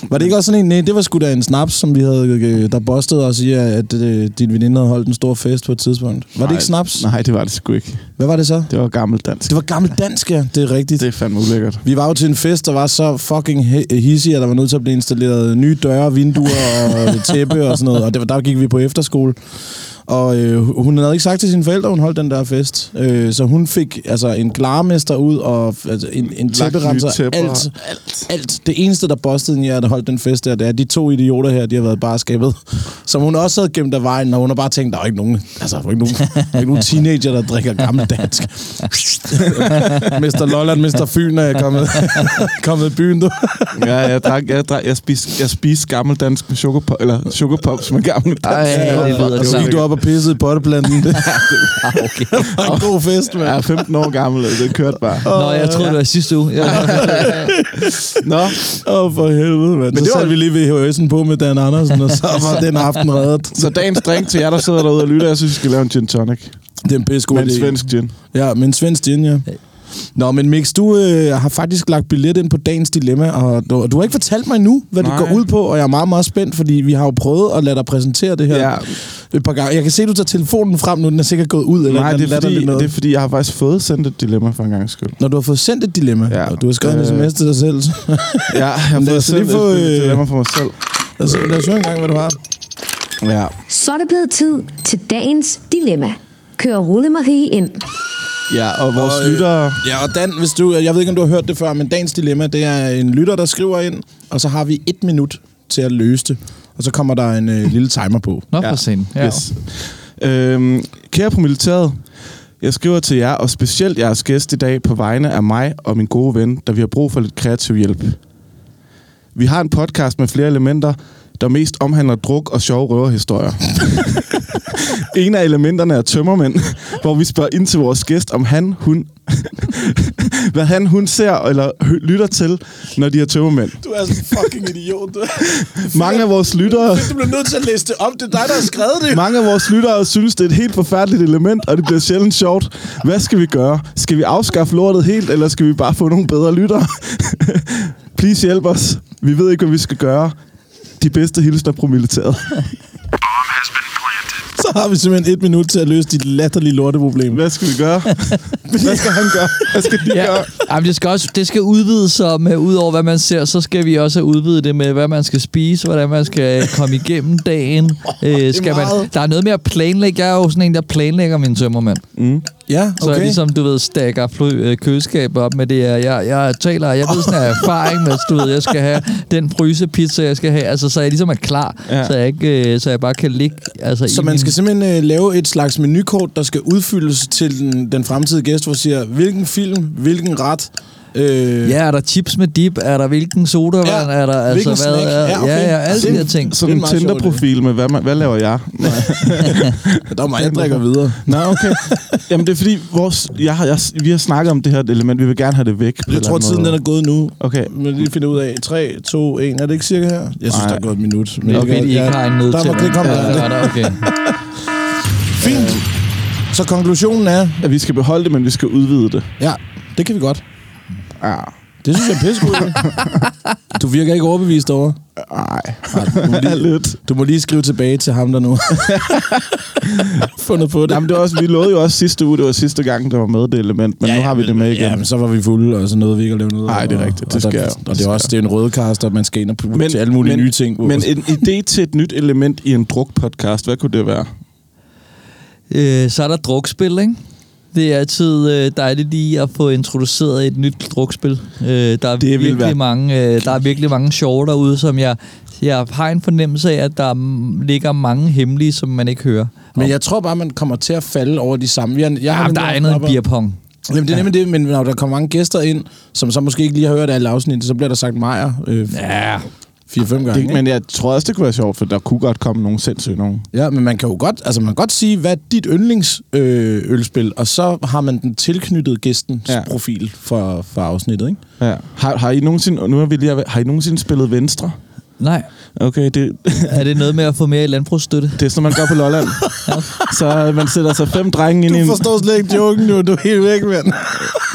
S3: Var det ikke også sådan en... Nej, det var sgu da en snaps, som vi havde, øh, der bostede os i, at øh, din veninde havde holdt en stor fest på et tidspunkt. Var det
S4: Nej,
S3: ikke snaps?
S4: Nej, det var det sgu ikke.
S3: Hvad var det så?
S4: Det var gammelt dansk.
S3: Det var gammelt dansk, ja. Det er rigtigt.
S4: Det er fandme ulækkert.
S3: Altså. Vi var jo til en fest, der var så fucking he- hissig, at der var nødt til at blive installeret nye døre, vinduer og (laughs) tæppe og sådan noget. Og det var, der gik vi på efterskole. Og øh, hun havde ikke sagt til sine forældre, hun holdt den der fest. Øh, så hun fik altså, en glarmester ud og altså, en, en
S4: nye
S3: tæpperenser.
S4: tæpper.
S3: Alt, alt. Det eneste, der bostede den i, at holdt den fest der, det er de to idioter her, de har været i barskabet. Som hun også havde gemt af vejen, og hun har bare tænkt, der er ikke nogen, altså, der er ikke nogen, der er ikke nogen teenager, der drikker gammel dansk. Mester Lolland, Mester Fyn er kommet, (laughs) kommet i byen, du.
S4: Ja, jeg, drak, jeg, drak, jeg, spiste, jeg spiste gammel dansk med chokopo, eller chokopops med gammel
S5: Ej,
S4: dansk.
S5: det lyder
S3: og så gik du op og pissede i potteplanten. Det
S5: okay.
S3: var en god fest, mand.
S4: Jeg er 15 år gammel, og det kørte bare.
S5: Nå, jeg troede, det var sidste uge.
S3: (laughs)
S5: Ja.
S4: Nå,
S3: Åh, oh, for helvede, mand. Men
S4: det
S3: så
S4: var-
S3: satte vi lige ved VHS'en på med Dan Andersen, og så var den aften reddet.
S4: så dagens drink til jer, der sidder derude og lytter, jeg synes, vi skal lave en gin tonic.
S3: Det er en pisse god
S4: Med en
S3: idé.
S4: svensk gin.
S3: Ja, men svensk gin, ja. Nå, men Mix, du øh, har faktisk lagt billet ind på dagens dilemma, og du, du har ikke fortalt mig nu, hvad Nej.
S4: Nej.
S3: det går ud på, og jeg er meget, meget spændt, fordi vi har jo prøvet at lade dig præsentere det her
S4: Ja.
S3: ja. et par gange. Jeg kan se, at du tager telefonen frem nu, den er sikkert gået ud, eller
S4: Nej,
S3: den
S4: det er, fordi,
S3: latterlig noget.
S4: det er fordi, jeg har faktisk fået sendt et dilemma for en gang skyld.
S3: Når du har fået sendt et dilemma,
S4: Ja.
S3: ja. og du har skrevet øh... en
S4: Øh.
S3: sms til dig selv, så
S4: Ja, jeg
S3: (laughs)
S4: har
S3: Lad
S4: fået
S3: os lige
S4: sendt
S3: få,
S4: et
S3: øh,
S4: dilemma for mig selv.
S3: lad os, lad os høre engang, hvad du har.
S4: Ja.
S1: Så er det blevet tid til dagens dilemma. Kører Rulle Marie ind.
S4: ja, og vores
S3: Og, øh,
S4: lyttere...
S3: Ja, og Dan, hvis du, jeg ved ikke, om du har hørt det før, men dagens dilemma, det er en lytter, der skriver ind, og så har vi et minut til at løse det. Og så kommer der en øh, lille timer på.
S5: Nå, for sent. Ja.
S4: Yes. Øhm, kære på militæret, jeg skriver til jer, og specielt jeres gæst i dag, på vegne af mig og min gode ven, da vi har brug for lidt kreativ hjælp. Vi har en podcast med flere elementer, der mest omhandler druk og sjove røverhistorier. (laughs) en af elementerne er tømmermænd, hvor vi spørger ind til vores gæst, om han, hun, (laughs) hvad han, hun ser eller hø- lytter til, når de er tømmermænd.
S3: Du er sådan en fucking (laughs) idiot. Du.
S4: Mange af vores lyttere...
S3: Du bliver nødt til at læse det om. Det er dig, der har skrevet det.
S4: Mange af vores lyttere synes, det er et helt forfærdeligt element, og det bliver sjældent sjovt. Hvad skal vi gøre? Skal vi afskaffe lortet helt, eller skal vi bare få nogle bedre lyttere? (laughs) Please hjælp os. Vi ved ikke, hvad vi skal gøre. De bedste hilsner
S3: (laughs)
S4: på militæret.
S3: Så har vi simpelthen et minut til at løse dit latterlige lorteproblem.
S4: Hvad skal vi gøre? Hvad skal han gøre? Hvad skal de
S5: Ja.
S4: gøre?
S5: Jamen, det skal, også, det skal udvides, så med, ud over hvad man ser, så skal vi også udvide det med, hvad man skal spise, hvordan man skal komme
S3: (laughs)
S5: igennem dagen. Øh, skal man,
S3: meget.
S5: der er noget med at planlægge. Jeg er jo sådan en, der planlægger min tømmermand.
S3: Ja,
S5: Så okay. jeg ligesom, du ved, stakker fly, øh, køleskaber op med det her. Jeg, jeg taler, jeg ved sådan af erfaring med, du ved, jeg skal have den frysepizza, jeg skal have. Altså, så jeg ligesom er klar,
S4: Ja.
S5: ja. så, jeg ikke, øh, så jeg bare kan ligge altså,
S3: Så
S5: i
S3: man
S5: min-
S3: skal simpelthen øh, lave et slags menukort, der skal udfyldes til den, den fremtidige gæst, hvor siger, hvilken film, hvilken ret. Øh,
S5: Ja, er der chips med dip? Er der hvilken sodavand?
S3: Ja,
S5: Ja, er der altså
S3: hvilken
S5: hvad?
S3: snack?
S5: Er,
S3: Ja,
S5: ja,
S3: okay.
S5: ja, ja, alle de
S3: Sind-
S5: her ting.
S3: Det er
S4: Sådan en
S3: meget sjovt,
S4: Tinder-profil med, hvad, man, hvad laver jeg? (laughs)
S3: Der er mig, jeg drikker videre.
S4: Nej, okay. Jamen, det er fordi, vores, jeg, har- jeg, vi har snakket om det her element. Vi vil gerne have det væk. på en
S3: Jeg
S4: eller
S3: tror,
S4: anden
S3: tiden den
S4: måde.
S3: er gået nu.
S4: Okay.
S3: Men lige finde ud af. 3, 2, 1. Er det ikke cirka her? Jeg synes,
S4: Nej.
S3: der er gået et minut. Men
S5: Det er
S3: det
S5: fedt, I ikke
S3: ja.
S5: har en nød
S3: Der
S5: til.
S3: må det komme
S5: ja,
S3: der.
S5: ja, der, okay.
S3: Fint. Så konklusionen er,
S4: At vi skal beholde det, men vi skal udvide det. Ah,
S3: ja, det kan vi godt.
S4: Ja.
S3: Det synes jeg er pissegod. du virker ikke overbevist over.
S4: Nej.
S3: Nej, du, må lige,
S4: Lidt.
S3: du må lige skrive tilbage til ham der nu. Fundet på det.
S4: Jamen, det var også, vi lovede jo også sidste uge, det var sidste gang, der var med det element, men ja, nu har vi det med igen.
S3: Ja, men så var vi fulde, og så nåede vi ikke at lave noget.
S4: Nej, det er
S3: Og-
S4: rigtigt. Det
S3: og der-
S4: sker jo.
S3: Og det er også det er en rødcast, og man skal ind og putte
S4: men
S3: til alle mulige
S4: men,
S3: nye ting.
S4: Men en idé til et nyt element i en druk-podcast, hvad kunne det være?
S5: (laughs) Øh, så er der drukspil, ikke? Det er altid øh, dejligt lige at få introduceret et nyt drukspil. Øh, der, er
S4: ville
S5: virkelig
S4: være-
S5: mange, øh, der er virkelig mange sjove derude, som jeg, jeg har en fornemmelse af, at der mm, ligger mange hemmelige, som man ikke hører.
S3: men jeg tror bare, man kommer til at falde over de samme. Jeg, jeg har
S5: Jamen, der
S3: nemlig
S5: er
S3: også
S5: andet
S3: op
S5: end
S3: ad-
S5: beerpong.
S3: Jamen, det er nemlig det, men når der kommer mange gæster ind, som så måske ikke lige har hørt alle afsnit, så bliver der sagt Majer øh,
S5: Ja.
S3: 4-5 gange.
S4: Det,
S3: ikke?
S4: men jeg tror også, det kunne være sjovt, for der kunne godt komme nogle sindssyge nogen.
S3: Ja, men man kan jo godt, altså man kan godt sige, hvad er dit yndlingsølspil, øh, ølspil? og så har man den tilknyttet gæstens
S4: Ja.
S3: ja. profil for, for afsnittet, ikke?
S4: Ja. Har, har, I nogensinde, og nu er vi lige, har I nogensinde spillet Venstre?
S3: (laughs)
S5: Nej.
S4: Okay, det,
S5: Er det noget med at få mere i landbrugsstøtte?
S4: det er sådan, man gør på Lolland. Så øh, man sætter sig fem drenge ind i en...
S3: slet ikke joken nu, du er helt væk, (laughs) mand.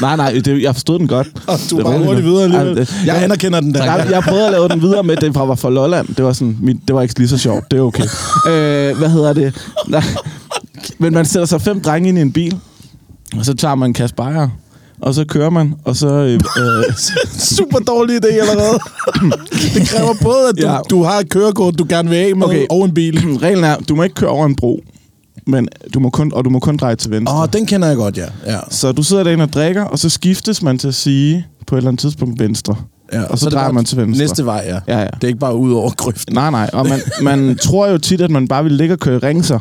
S4: Nej, nej, det, jeg forstod den godt.
S3: Og du er
S4: Det
S3: bare
S4: roligt
S3: hurtigt
S4: nu.
S3: videre
S4: Ej,
S3: alligevel.
S4: det-
S3: Jeg anerkender den der.
S4: Jeg, jeg prøvede at lave den videre med, det var, var fra Lolland. Det var, sådan, min, det var ikke lige så sjovt. Det er
S3: (laughs)
S4: okay. øh, hvad hedder det? Nej. Men man sætter sig fem drenge ind i en bil, Og så tager man en kasse bajer, og så kører man, og så... Øh,
S3: (laughs)
S4: øh,
S3: Super dårlig idé
S4: (laughs)
S3: allerede. det kræver både, at du,
S4: Ja.
S3: ja. du har et kørekort, du gerne vil af med,
S4: Okay.
S3: okay. og en bil.
S4: (clears throat) reglen er, du må ikke køre over en bro, men du må kun, og du må kun dreje til venstre.
S3: Åh, oh, den kender jeg godt, ja. ja.
S4: Så du sidder derinde og drikker, og så skiftes man til at sige på et eller andet tidspunkt venstre.
S3: ja.
S4: og så,
S3: er det
S4: drejer
S3: bare
S4: man til venstre.
S3: Næste vej, ja.
S4: Ja, ja.
S3: Det er ikke bare ud over grøften.
S4: Nej, nej. (laughs) Og man, man tror jo tit, at man bare vil ligge og køre i ringser,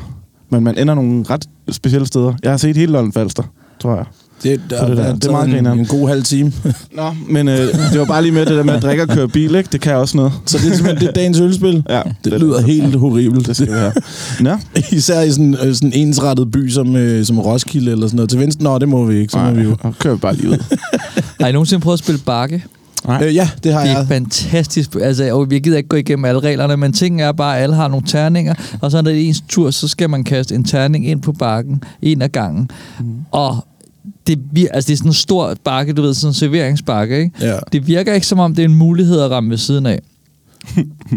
S4: men man ender nogle ret specielle steder. Jeg har set hele Lolland Falster, tror jeg.
S3: Det, der,
S4: Så det der- det er meget
S3: en,
S4: grineren.
S3: en god halv time.
S4: Nå, men øh, det var bare lige med det der med at drikke og køre bil, ikke? Det kan også noget.
S3: så det er simpelthen det er dagens ølspil.
S4: Ja,
S3: det, lyder helt horribelt.
S4: Det skal vi have. Nå,
S3: (laughs) Især i sådan øh, sådan en ensrettet by som, øh, som Roskilde eller sådan noget. Til venstre, nå, det må vi ikke. Så må vi jo.
S4: nej, og kører vi bare lige (laughs) ud.
S5: Har I nogensinde prøvet at spille bakke?
S3: Øh, ja, det har
S5: Det er
S3: jeg.
S5: fantastisk. Altså, og vi gider ikke gå igennem alle reglerne, men ting er bare, at alle har nogle terninger, og så er det ens tur, så skal man kaste en terning ind på bakken, en af gangen. Mm. Og det, vir- altså, det er sådan en stor bakke, du ved, sådan en serveringsbakke, ikke?
S3: Ja.
S5: Det virker ikke, som om det er en mulighed at ramme ved siden af.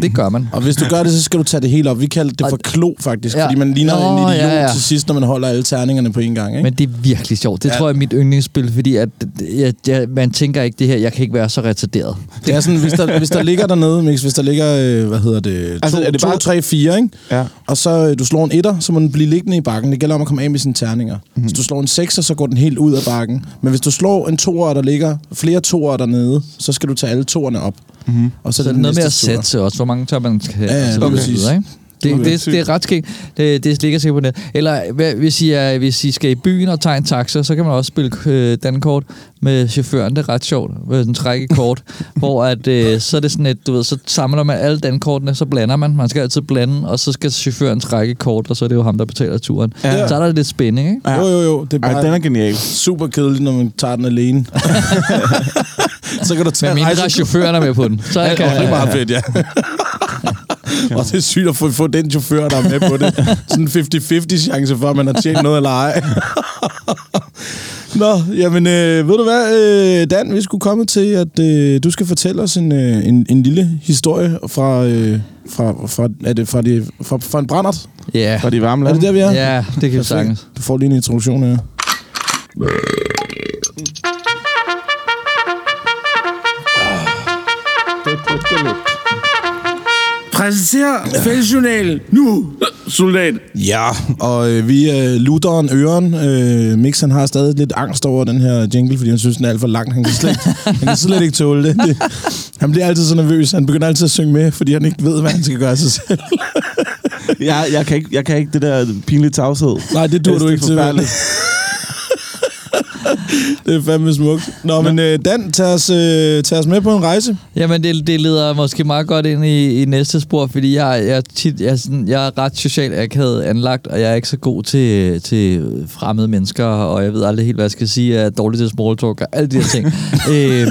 S5: det gør man.
S3: Og hvis du gør det, så skal du tage det hele op. Vi kalder det for
S5: Og-
S3: klo, faktisk.
S5: Ja.
S3: Fordi man ligner
S5: Nå,
S3: en idiot
S5: ja, ja.
S3: til sidst, når man holder alle terningerne på en gang. Ikke?
S5: Men det er virkelig sjovt. Det ja.
S3: Ja.
S5: tror jeg er mit yndlingsspil, fordi at, jeg, jeg, man tænker ikke det her, jeg kan ikke være så retarderet.
S3: Det er sådan, hvis der, hvis der ligger dernede, Mix, hvis der ligger, øh, hvad hedder det, altså,
S4: Altså,
S3: to,
S4: er det bare-
S3: 3, 4, ikke?
S4: Ja.
S3: Og så øh, du slår en etter, så må den blive liggende i bakken. Det gælder om at komme af med sine terninger.
S4: Mhm.
S3: Mm. Hvis du slår en sekser, så går den helt ud af bakken. Men hvis du slår en toer, og der ligger flere toer dernede, så skal du tage alle toerne op.
S4: Mhm.
S3: Mm. Og
S5: Så, så
S3: er
S5: det er noget med at
S3: næste tur.
S5: sætte sig også, hvor mange tør man skal have.
S3: Ja, ja,
S5: og så
S3: okay.
S5: videre,
S3: Præcis.
S5: ikke? Det,
S4: Okay.
S5: det, det, det er ret skægt. Det, det er slet ikke sikkert på net. Eller hvad- hvis I, er, hvis I skal i byen og tage en taxa, så kan man også spille øh, dankort med chaufføren. Det er ret sjovt. Med sådan trække
S3: (laughs)
S5: kort. hvor at, øh, så er det sådan et, du ved, så samler man alle dankortene, så blander man. Man skal altid blande, og så skal chaufføren trække kort, og så er det jo ham, der betaler turen.
S4: Ja.
S5: Ja. Så er der lidt spænding, ikke?
S3: Jo, jo, jo. Det er
S4: Ej,
S3: bare
S4: den er genial.
S3: super kedeligt, når man tager den
S4: (laughs)
S3: alene. så kan du tage
S5: Men mindre
S3: rejsekort.
S5: chaufføren er med på den. Så kan,
S3: Ja, det er meget fedt, ja. (laughs) Og det er sygt at få, få den chauffør, der er med på det. Sådan en 50-50 chance for, at man har tjent noget eller ej. (laughs) Nå, jamen, øh, ved du hvad, øh, Dan, vi skulle komme til, at øh, du skal fortælle os en, øh, en, en lille historie fra, øh, fra, fra, er det, fra, det, fra, fra en brændert.
S5: Ja.
S4: Fra de varme
S3: Er
S4: lande.
S3: det der, vi er?
S5: ja, det kan vi sagtens.
S3: Du får lige en introduktion her.
S2: Præsenter fællesjournal nu, soldat.
S3: Ja, og øh, vi er lutteren Øren. Øh, Mix han har stadig lidt angst over den her jingle, fordi han synes, den er alt for lang. Han kan slet, han kan slet ikke tåle det. det. Han bliver altid så nervøs. Han begynder altid at synge med, fordi han ikke ved, hvad han skal gøre af sig selv.
S4: Jeg, jeg, kan ikke, jeg kan ikke det der pinlige tavshed.
S3: Nej, det dur
S4: Yes,
S3: du
S4: det er
S3: ikke til. vel?
S4: forfærdeligt.
S3: Det er fandme smukt. Nå, men øh, Dan, tag os, øh, tag os med på en rejse.
S5: Jamen, det, det leder måske meget godt ind i, i næste spor, fordi jeg, jeg, er tit, jeg, er sådan, jeg er ret socialt akavet anlagt, og jeg er ikke så god til, til fremmede mennesker, og jeg ved aldrig helt, hvad jeg skal sige. Jeg er dårlig til small talk og alle de her ting. øh,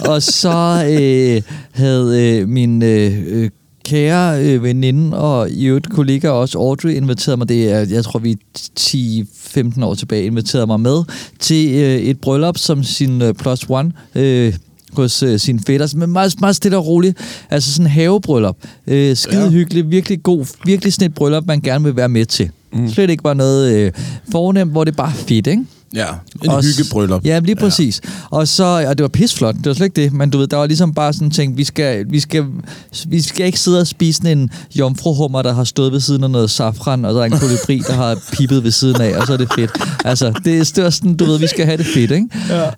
S5: og så øh, havde øh, min øh, øh, kære øh, veninde og i øvrigt kollega også Audrey inviterede mig, det er, jeg tror vi er 10-15 år tilbage, inviterede mig med til øh, et bryllup som sin øh, plus one øh, hos øh, sine fætter, men meget, meget stille og roligt. Altså sådan en havebryllup. Øh, skide
S3: Ja.
S5: hyggeligt, virkelig god, virkelig sådan et bryllup, man gerne vil være med til. Mm. Slet ikke bare noget øh, fornemt, hvor det er bare fedt, ikke?
S3: Ja, en
S5: Og s-
S3: hyggebryllup.
S5: Ja, lige præcis. Ja. Og så, og det var pisflot, det var slet ikke det, men du ved, der var ligesom bare sådan ting, vi skal, vi skal, vi skal ikke sidde og spise sådan en jomfruhummer, der har stået ved siden af noget safran, og der er en kolibri, der har pippet ved siden af, og så er det fedt. Altså, det, er- det var sådan, du ved, vi skal have det fedt, ikke? Ja.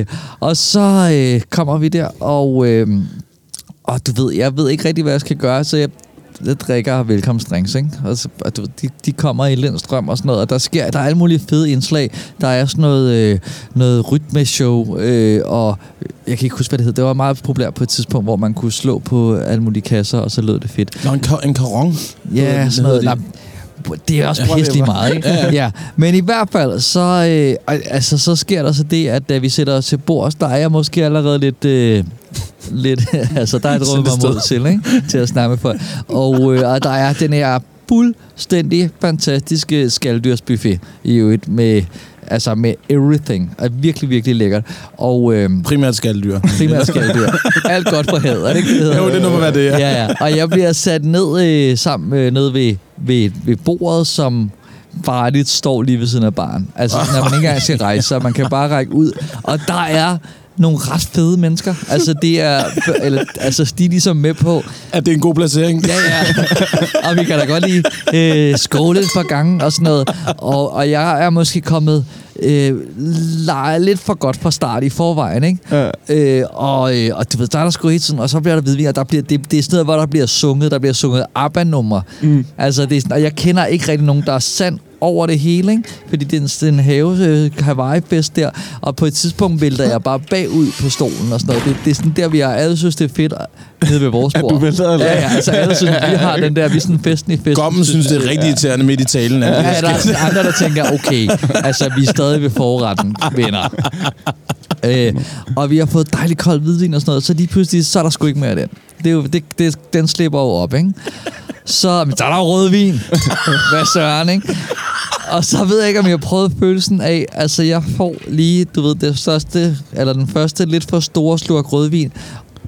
S5: Øh, og så øh, kommer vi der, og, øh, og du ved, jeg ved ikke rigtig, hvad jeg skal gøre, så jeg jeg drikker velkomstdrinks, ikke? Og så, og du, ved, de, de kommer i Lindstrøm og sådan noget, og der sker, der er alle mulige fede indslag. Der er sådan noget, øh, noget rytmeshow, øh, og jeg kan ikke huske, hvad det hed. Det var meget populært på et tidspunkt, hvor man kunne slå på alle mulige kasser, og så lød det fedt.
S3: Nå, en, ka- en karon.
S5: Ja, sådan noget. Nej, det er også pisse lige meget, ikke? ja, ja. Men i hvert fald, så, øh, al- altså, så sker der så det, at da vi sætter os til bords, der er jeg måske allerede lidt... Øh, lidt (laughs) altså, der er et rum mig mod til, ikke? Til at snakke med folk. Og, øh, og der er den her fuldstændig fantastiske skalddyrsbuffet i øvrigt med, altså med everything. Er virkelig, virkelig lækkert. Og øh,
S3: Primært skaldyr.
S5: primært skalddyr. Alt godt for havet, er det ikke det, det,
S3: Jo, det må være det, ja.
S5: ja, ja. Og jeg bliver sat ned øh, sammen øh, ned ved, ved, ved bordet, som farligt står lige ved siden af baren. Altså, når man ikke engang skal rejse sig, man kan bare række ud. Og der er nogle ret fede mennesker. Altså, det er, eller, altså de er ligesom med på,
S3: Er det en god placering?
S5: Ja, ja. og vi kan da godt lige øh, skåle et par gange og sådan noget. Og, og jeg er måske kommet øh, le- lidt for godt fra start i forvejen, ikke?
S4: Ja.
S5: Øh, og, øh, og du ved, der er der sgu hele tiden, og så bliver der vidvinger, der bliver, det, det er sådan noget, hvor der bliver sunget, der bliver sunget ABBA-numre. Mm. Altså, det er sådan, og jeg kender ikke rigtig nogen, der er sand over det hele, ikke? Fordi det er en, det er en have, øh, Hawaii-fest der, og på et tidspunkt vælter jeg bare bagud på stolen og sådan noget. Det, det er sådan der, vi har alle synes, det er fedt øh, nede ved vores bord.
S4: du vælter, eller?
S5: Ja, ja, altså alle synes, vi har den der, vi er sådan festen i festen.
S3: Gommen synes, det er rigtig irriterende midt i talen.
S5: Ja,
S3: Ja.
S5: der er andre, der tænker, okay, altså vi er stadig ved forretten, venner. Øh, og vi har fået dejligt kold hvidvin og sådan noget, så lige pludselig, så er der sgu ikke mere af den. Det er jo, det, det, den slipper jo op, ikke? Så, men der er der jo rødvin. Hvad søren, ikke? Og så ved jeg ikke, om jeg har prøvet følelsen af, altså jeg får lige, du ved, det største, eller den første lidt for store slurk rødvin,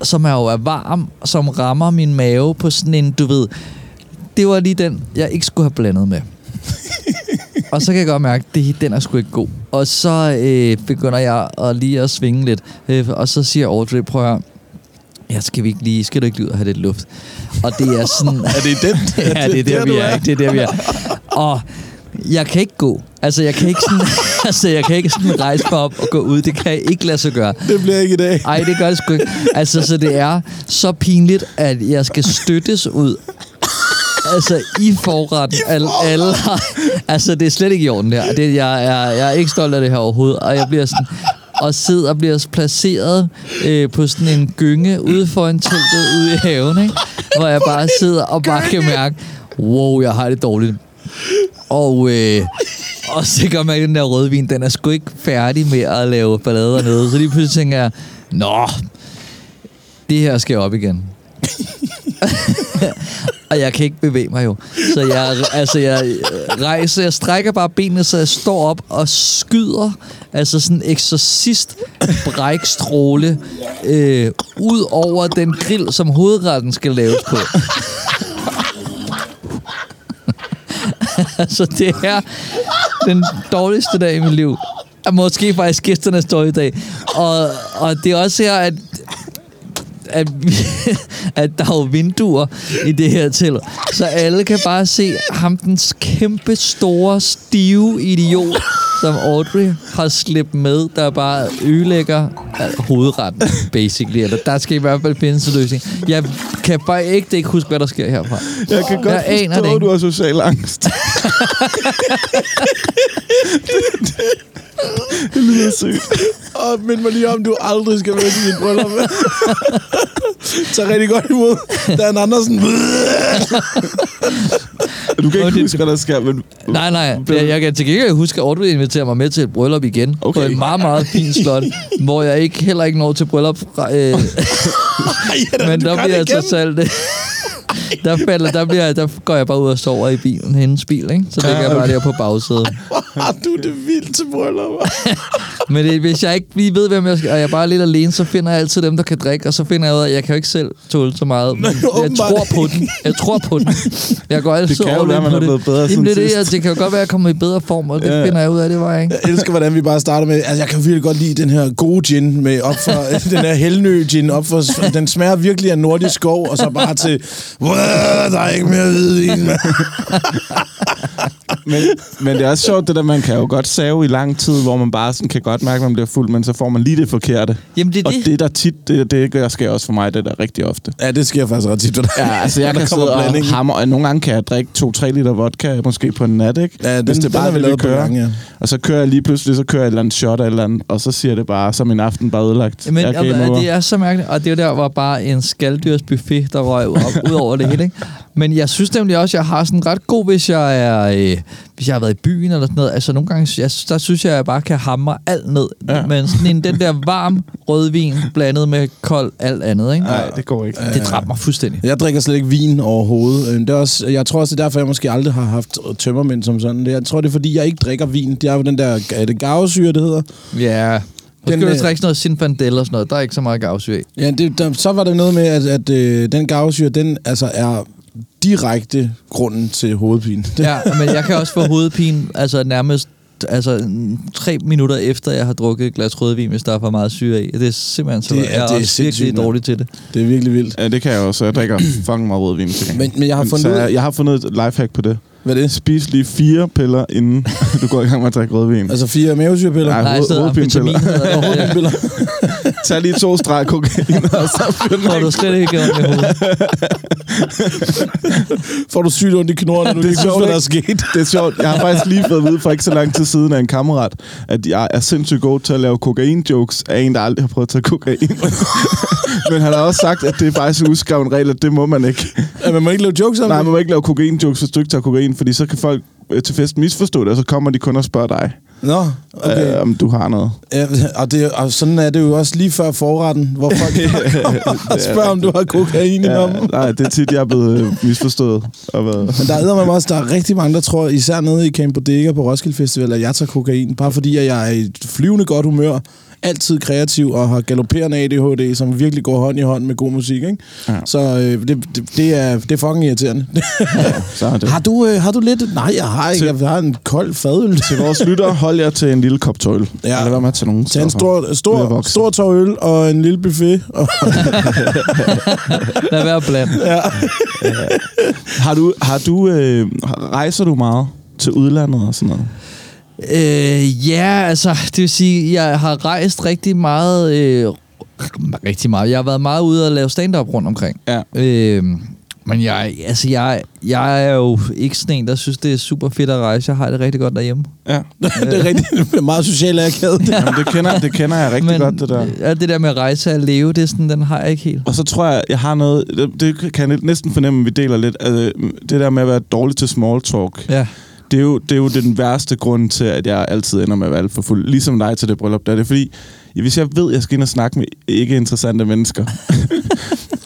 S5: som er jo er varm, som rammer min mave på sådan en, du ved, det var lige den, jeg ikke skulle have blandet med. og så kan jeg godt mærke, at det, den er sgu ikke god. Og så øh, begynder jeg at lige at svinge lidt. Øh, og så siger Audrey, prøv at høre, ja, skal, vi ikke lige, skal du ikke lige ud og have lidt luft? Og det er sådan... (laughs) er det den? ja, det er der, vi er. ikke? Det er der, vi er. Og jeg kan ikke gå. Altså, jeg kan ikke sådan, (laughs) altså, jeg kan ikke sådan rejse mig op og gå ud. Det kan jeg ikke lade sig gøre.
S3: Det bliver ikke i dag.
S5: (laughs) Ej, det gør det sgu ikke. Altså, så det er så pinligt, at jeg skal støttes ud. Altså, i forretten. Al, alle har, altså, det er slet ikke i orden der. Det, jeg, er, jeg er ikke stolt af det her overhovedet. Og jeg bliver sådan og sidder og bliver placeret øh, på sådan en gynge ude foran teltet ude i haven, ikke? hvor jeg bare sidder og bare kan mærke, wow, jeg har det dårligt. Og, øh, og så gør man, at den der rødvin, den er sgu ikke færdig med at lave ballader nede. Så lige pludselig tænker jeg, nå, det her skal op igen. (laughs) og jeg kan ikke bevæge mig jo. Så jeg, altså, jeg øh, rejser, jeg strækker bare benene, så jeg står op og skyder, altså sådan en eksorcist brækstråle, øh, ud over den grill, som hovedretten skal laves på. altså, det er den dårligste dag i mit liv. Og Måske faktisk gæsternes dårlige dag. Og, og det er også her, at at, (laughs) vi- at der er jo vinduer i det her til. Så alle kan bare se ham, den kæmpe store, stive idiot, som Audrey har slæbt med, der bare ødelægger øh, hovedretten, basically. Eller der skal i hvert fald findes en løsning. Jeg kan bare ikke, ikke huske, hvad der sker herfra.
S4: Jeg kan godt
S5: Jeg aner det
S4: forstå, at
S5: ikke.
S4: du har social angst.
S3: (laughs)
S4: det, det, det lyder sygt.
S3: Og mind mig lige om, du aldrig skal være til dit (laughs) bryllup. Tag rigtig godt imod Dan Andersen.
S4: Du kan
S5: Nå,
S4: ikke
S5: det-
S4: huske, hvad der sker, men...
S5: Nej, nej. Jeg, jeg kan til gengæld huske, at Audrey inviterer mig med til et bryllup igen. Okay. På et meget, meget
S4: (laughs)
S5: fint slot, hvor jeg ikke, heller ikke når til bryllup. (laughs) Øh, men der bliver jeg så selv det. Der, falder, der, bliver, der går jeg bare ud og sover i bilen, hendes bil, ikke? Så ligger jeg bare der på bagsædet.
S3: Har du det vildt til bryllupper?
S5: Men det, hvis jeg ikke lige ved, hvem jeg skal, og jeg er bare lidt alene, så finder jeg altid dem, der kan drikke, og så finder jeg ud af, at jeg kan jo ikke selv tåle så meget. Men jeg
S3: åbenbart
S5: tror på den. Jeg tror på den. Jeg går altid
S4: kan jo
S5: all
S4: være,
S5: in
S4: man
S5: på
S4: er
S5: det.
S4: blevet bedre
S5: Jamen,
S4: siden
S5: det, er det,
S4: sidst.
S5: jeg, det kan jo godt være, at jeg kommer i bedre form, og det
S4: Ja.
S5: finder jeg ud af, det var jeg ikke.
S3: Jeg elsker, hvordan vi bare starter med... Altså, jeg kan virkelig godt lide den her gode gin med op for... (laughs) den her Hellnø gin op for... Den smager virkelig af nordisk skov, og så bare til... "Wah, Der er ikke mere hvidvin, mand.
S4: Men, men det er også sjovt, det der, man kan jo godt save i lang tid, hvor man bare sådan kan godt mærke, at man bliver fuld, men så får man lige det forkerte.
S5: Jamen, det er
S4: og
S5: det.
S4: det. der tit, det, det gør sker også for mig, det der rigtig ofte.
S3: Ja, det sker faktisk ret tit for dig.
S4: Ja, altså jeg
S3: Der
S4: kan
S3: kommer
S4: sidde og
S3: blandingen.
S4: hammer, og nogle gange kan jeg drikke 2-3 liter vodka, måske på en nat, ikke?
S3: Ja, den-
S4: Hvis det
S3: den
S4: bare
S3: har
S4: er
S3: vi
S4: det, vi
S3: lavet på
S4: kører.
S3: gange, ja.
S4: Og så kører jeg lige pludselig, så kører jeg et eller andet shot eller et eller andet, og så siger det bare, så er min aften bare ødelagt.
S5: Men
S4: jeg
S5: og, og det er så mærkeligt, og det er jo der var bare en skalddyrsbuffet, der røg op, ud over det hele. Ikke? Men jeg synes nemlig også, at jeg har sådan ret god, hvis jeg, er, øh, hvis jeg har været i byen eller sådan noget. Altså nogle gange, jeg, der synes jeg, at jeg bare kan hamre alt ned. Ja. Men sådan en, den der varm rødvin blandet med kold alt andet, ikke?
S4: Nej, det går ikke.
S5: Det dræber mig fuldstændig.
S3: Jeg drikker slet ikke vin overhovedet. Øh, Det er også, jeg tror også, det er derfor, jeg måske aldrig har haft tømmermænd som sådan. Jeg tror, det er, fordi jeg ikke drikker vin. Det er jo den der... Er det garvesyre, det hedder?
S5: Ja. Og
S3: Den,
S5: skal du
S3: øh,
S5: drikke sådan noget Zinfandel og sådan noget. Der er ikke så meget gavsyg.
S3: Ja, det, der, så var der noget med, at, at øh, den garvesyre, den altså er direkte grunden til hovedpine.
S5: Ja, men jeg kan også få hovedpine, altså nærmest altså, mm, tre minutter efter, jeg har drukket et glas rødvin, hvis der er for meget syre i. Det er simpelthen så,
S3: Det er-
S5: jeg er,
S3: det er
S5: også
S3: sindssygt,
S5: virkelig
S3: mand.
S5: dårlig til det.
S3: Det er virkelig vildt.
S4: Ja, det kan jeg også. Jeg drikker fucking meget rødvin til gengæld.
S3: Men- men jeg har fundet
S4: så
S3: ud af-
S4: jeg, jeg har fundet et lifehack på det.
S3: Hvad er det?
S4: Spis lige fire piller, inden (laughs) du går i gang med at drikke rødvin.
S3: Altså fire mavesyrepiller?
S4: Nej,
S5: Nej, i
S4: hoved-
S5: stedet
S4: hovedpinepiller.
S3: (laughs)
S5: amfetamin. hedder det.
S3: Hovedpinepiller.
S4: Tag lige to streg (laughs) kokain, og så fyr den
S5: Får du slet ikke ondt i hovedet.
S3: Får du sygt ondt i knoren, når du
S4: Det er
S3: ikke ved,
S4: sjovt,
S3: hvad der
S4: ikke?
S3: er sket?
S4: Det er sjovt. Jeg har faktisk lige fået at vide for ikke så lang tid siden af en kammerat, at jeg er sindssygt god til at lave kokain-jokes af en, der aldrig har prøvet at tage kokain. (laughs) Men han har også sagt, at det er faktisk en udskreven regel, at det må man ikke.
S3: Ja, man må ikke lave jokes om
S4: Nej,
S3: det.
S4: man må ikke lave kokain-jokes, hvis du ikke tager kokain, fordi så kan folk øh, til fest misforstå det, og så kommer de kun og spørger dig,
S3: Nå, okay.
S4: okay. øh, om du har noget.
S3: Ja, og, det, og sådan er det jo også lige før forretten, hvor
S4: (laughs)
S3: folk (laughs) kommer og spørger, om du har kokain i
S4: Ja,
S3: lommen.
S4: nej, det er tit, jeg er blevet øh, misforstået. Og været.
S3: Men der er med også, der er rigtig mange, der tror, især nede i Camp Bodega på Roskilde Festival, at jeg tager kokain, bare fordi at jeg er i et flyvende godt humør, altid kreativ og har galopperende ADHD, som virkelig går hånd i hånd med god musik. Ikke? Ja.
S4: Ja.
S3: Så øh, det, det, det, er, det er fucking irriterende.
S4: Så er det.
S3: (laughs) har, du, øh, har du lidt? Nej, jeg har ikke.
S4: Til-
S3: Jeg har en kold fadøl.
S4: Til vores lyttere, hold jer til en lille kop tøjl.
S3: Ja.
S4: Lad være med at tage nogen.
S3: Tag en
S4: stoffer.
S3: stor,
S4: Mere
S3: stor,
S4: voksen.
S3: stor tår øl og en lille buffet. Og,
S5: Lad være blandt.
S4: Har du, har du øh, rejser du meget til udlandet og sådan noget?
S5: Øh, ja, altså, det vil sige, jeg har rejst rigtig meget, øh, rigtig meget. Jeg har været meget ude og lave stand-up rundt omkring.
S4: Ja.
S5: Øh, men jeg, altså, jeg, jeg er jo ikke sådan en, der synes, det er super fedt at rejse. Jeg har det rigtig godt
S3: (laughs)
S5: derhjemme.
S4: Ja.
S3: det er rigtig det er meget socialt akavet. det.
S4: Øh, Jamen, det, kender, det kender jeg rigtig
S5: men,
S4: men, godt, det der.
S5: øh, Ja, det der med at rejse og leve, det er sådan, den har jeg ikke helt.
S4: Og så tror jeg, jeg har noget... Det, det kan jeg næsten fornemme, at vi deler lidt. Altså, det der med at være dårlig til small talk.
S5: Ja.
S4: Det er, jo, det er jo den værste grund til, at jeg altid ender med at være alt for fuld. Ligesom dig til det bryllup. Der er det fordi, hvis jeg ved, at jeg skal ind og snakke med ikke interessante
S5: (laughs)
S4: mennesker,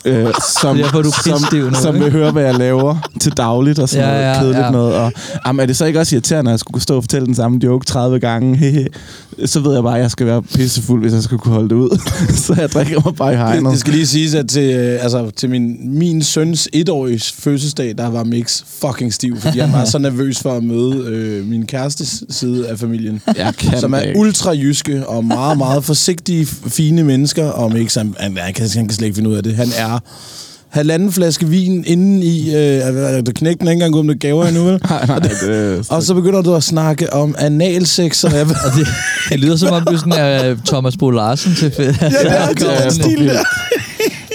S4: øh, som,
S5: Det er derfor, du er pissestiv nu,
S4: som, som vil
S5: ikke?
S4: høre, hvad jeg laver til dagligt og sådan ja,
S5: Ja,
S4: noget
S5: ja,
S4: ja, kedeligt
S5: ja.
S4: ja. noget. Og, jamen, er det så ikke også irriterende, at jeg skulle stå og fortælle den samme joke 30 gange? (laughs) Hehe. så ved jeg bare, at jeg skal være pissefuld, hvis jeg skal kunne holde det ud. (laughs) så jeg drikker mig bare i
S3: Det,
S4: hegnet.
S3: det skal lige siges, at til, øh, altså, til min, min søns etårige fødselsdag, der var Mix fucking stiv, fordi han var så nervøs for at møde øh, min kærestes side af familien.
S4: Jeg kan
S3: som er
S4: det ikke.
S3: ultra jyske og meget, meget forsigtige, f- fine mennesker. Og Mix, han, han, han, kan, han kan slet ikke finde ud af det. Han er halvanden flaske vin inden i... Øh, du knækker den ikke engang ud med gaver endnu, vel?
S4: Nej,
S5: (laughs)
S4: nej, det,
S3: Og så begynder du at snakke om analsex, og jeg ved, (laughs)
S5: Og det, det lyder som om, du sådan er øh, Thomas Bo Larsen til fedt. Ja,
S3: det er Thomas Stil der.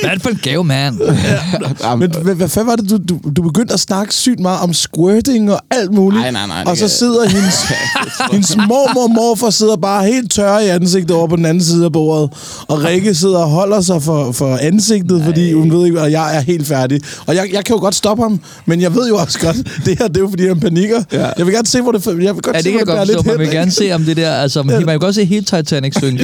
S5: Hvad er det for en gave, man?
S4: jamen,
S3: Men hvad, hvad fanden var det, du, du, du begyndte at snakke sygt meget om squirting og alt muligt?
S4: Nej, nej, nej, det
S3: Og så
S4: kan-
S3: sidder
S4: (laughs)
S3: hendes, hendes mormor og morfar sidder bare helt tørre i ansigtet over på den anden side af bordet. Og Rikke sidder og holder sig for, for ansigtet, nej. fordi hun ved ikke, og jeg er helt færdig. Og jeg, jeg kan jo godt stoppe ham, men jeg ved jo også godt, (laughs) det her det er jo, fordi han panikker. Ja. Jeg vil gerne se, hvor det, jeg vil godt
S5: Ja,
S3: se,
S5: det kan
S3: hvor
S5: jeg godt
S3: bærer lidt
S5: forstå. Man
S3: hen,
S5: vil
S3: ikke?
S5: gerne se om det der... Altså, man kan godt se hele Titanic synge.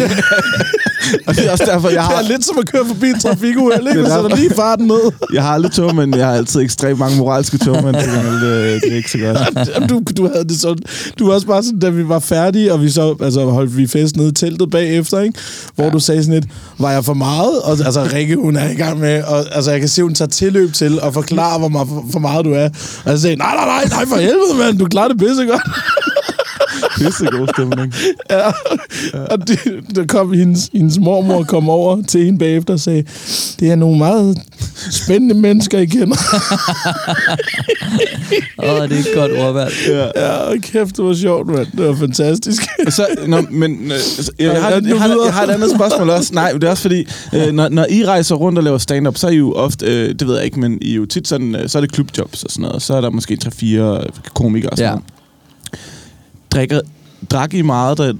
S4: og det er også derfor, jeg
S3: Det
S4: har...
S3: er lidt som at køre forbi en
S4: (laughs)
S3: trafikuheld, ikke?
S4: Det
S3: Man
S4: er der-
S3: sætter lige farten ned.
S4: Jeg har aldrig tog, men jeg har altid ekstremt mange moralske tog, men det, det, det er ikke så godt.
S3: Jamen, du, du havde det sådan, du var også bare sådan, da vi var færdige, og vi så altså, holdt vi fest nede i teltet bagefter, ikke? hvor ja. du sagde sådan lidt, var jeg for meget? Og altså, Rikke, hun er i gang med, og altså, jeg kan se, hun tager tilløb til og forklare, hvor meget, for meget du er. Og jeg sagde, nej, nej, nej, nej, for helvede, mand, du klarer det pisse godt.
S4: Pisse god stemning.
S3: Ja. Og det, der kom hendes, hendes mormor kom over til hende bagefter og sagde, det er nogle meget spændende mennesker, I kender.
S5: Åh, det er et godt ordvalg.
S3: Ja, kæft, det var sjovt, mand. Det var fantastisk.
S4: Så, nå, men, øh, så- jeg, jeg, har,
S3: Ja, nu
S4: jeg, har,
S3: videre.
S4: jeg har et andet spørgsmål også. Nej, det er også fordi, øh, når, når I rejser rundt og laver stand-up, så er I jo ofte, øh, det ved jeg ikke, men I er jo tit sådan, øh, så er det klubjobs og sådan noget, og så er der måske 3-4 komikere og sådan
S5: Ja.
S4: ja. noget. Drikker, drak I meget, da,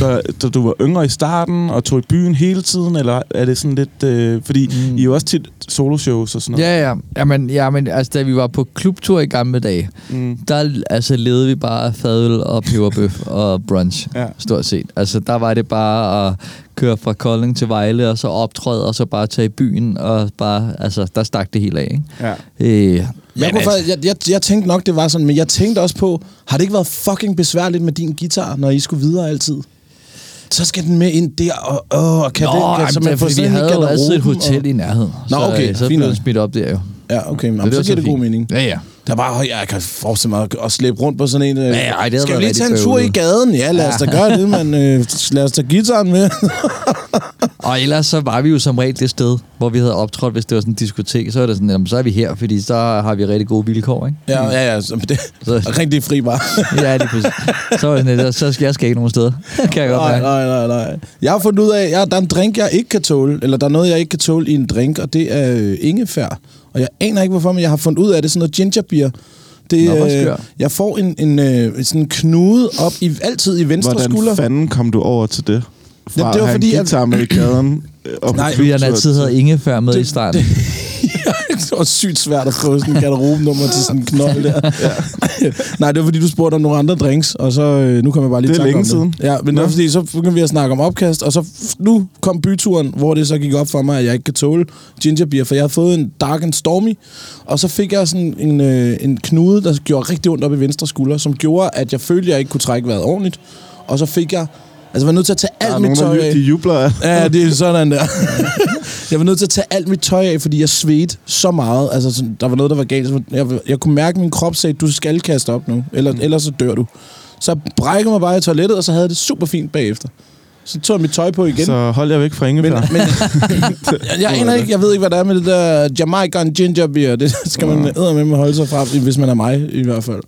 S4: da, da du var yngre i starten, og tog i byen hele tiden, eller er det sådan lidt, øh, fordi mm. I er jo også tit soloshows og sådan noget.
S5: Ja, ja. Jamen, ja, men altså, da vi var på klubtur i gamle dage,
S4: Mm.
S5: der altså, levede vi bare af fadøl og
S3: (laughs)
S5: peberbøf og brunch, ja.
S4: Ja.
S5: stort set. Altså, der var det bare at køre fra Kolding til Vejle, og så optræde, og så bare tage i byen, og bare, altså, der stak det helt af, ikke?
S4: Ja.
S5: Øh,
S3: Jeg,
S5: men
S3: kunne
S5: altså,
S3: faktisk, jeg, jeg, jeg tænkte nok, det var sådan, men jeg tænkte også på, har det ikke været fucking besværligt med din guitar, når I skulle videre altid? Så skal den med ind der, og, åh, og kan
S5: Nå,
S3: det, kan,
S5: jamen, det er,
S3: får
S5: fordi vi
S3: sådan en i
S5: havde jo altid et
S3: garderoben,
S5: hotel og... i nærheden.
S3: Nå,
S5: så,
S3: okay,
S5: øh, Så
S3: fint
S5: blev
S3: nok.
S5: den smidt op der jo.
S3: Ja, okay. Men,
S6: det
S3: så
S6: var
S3: giver det
S6: så
S3: god
S6: fint.
S3: mening.
S6: Ja, ja.
S3: Der er bare, jeg kan forestille mig at- at slæbe rundt på sådan en... øh,
S6: ja, ej, det havde været
S3: Skal vi lige
S6: rigtig
S3: tage en tur i
S6: bøvlet."
S3: gaden? Ja, lad os da gøre
S5: (laughs)
S3: det, men øh, lad os tage gitaren med.
S5: Og ellers så var vi jo som regel det sted, hvor vi havde optrådt, hvis det var sådan en diskotek. Så er det sådan, jamen, så er vi her, fordi så har vi rigtig gode vilkår, ikke?
S3: ja, ja, ja. Så det,
S5: Så-
S3: rigtig fri bare.
S5: Ja, lige præcis. Så var det sådan, lidt, så skal jeg skal ikke nogen steder. (laughs) kan jeg godt
S3: Nej,
S5: mærke.
S3: nej, nej, nej. Jeg har fundet ud af, at der er en drink, jeg ikke kan tåle, eller der er noget, jeg ikke kan tåle i en drink, og det er øh, ingefær. Og jeg aner ikke, hvorfor, men jeg har fundet ud af, at det er sådan noget gingerbeer. Det,
S5: Nå, hvor skør.
S3: øh, jeg får en, en øh, sådan en knude op i, altid i venstre
S4: Hvordan
S3: skulder.
S4: fanden kom du over til det? Fra
S3: Jamen,
S4: Jamen, det var at have fordi, en guitar med i
S3: (clears throat)
S4: gaden. øh, og på
S3: Nej,
S5: Fordi han
S4: klubtur
S5: altid havde ingefær med i starten.
S3: (laughs) det var sygt svært at få sådan en garderobenummer til sådan en knold der. ja. Nej, det var fordi, du spurgte om nogle andre drinks, og så øh, nu kom jeg bare lige i
S4: Det er
S3: tanke
S4: længe
S3: om
S4: siden.
S3: Det. Ja, men det var fordi, så begyndte vi at snakke om opkast, og så f- nu kom byturen, hvor det så gik op for mig, at jeg ikke kan tåle gingerbeer, for jeg havde fået en dark and stormy, og så fik jeg sådan en, øh, en knude, der gjorde rigtig ondt op i venstre skulder, som gjorde, at jeg følte, at jeg ikke kunne trække vejret ordentligt, og så fik jeg Altså, jeg var nødt til at tage
S4: Der
S3: alt
S4: er
S3: mit
S4: nogen,
S3: tøj af.
S4: der de jubler. af.
S3: Ja, det er sådan der. (laughs) jeg var nødt til at tage alt mit tøj af, fordi jeg svedte så meget. Altså, sådan, der var noget, der var galt. Så Jeg, jeg kunne mærke, at min krop sagde, du skal kaste op nu, eller, mm. ellers så dør du. Så jeg brækkede mig bare i toilettet, og så havde jeg det super fint bagefter. Så tog jeg mit tøj på igen. Så.
S4: Så hold jer væk fra
S3: Men,
S4: ingefær.
S3: men jeg, jeg aner ikke, jeg ved ikke, hvad der er med det der Jamaican ginger beer. Det (laughs) skal man med med holde sig fra, hvis man er mig i hvert fald.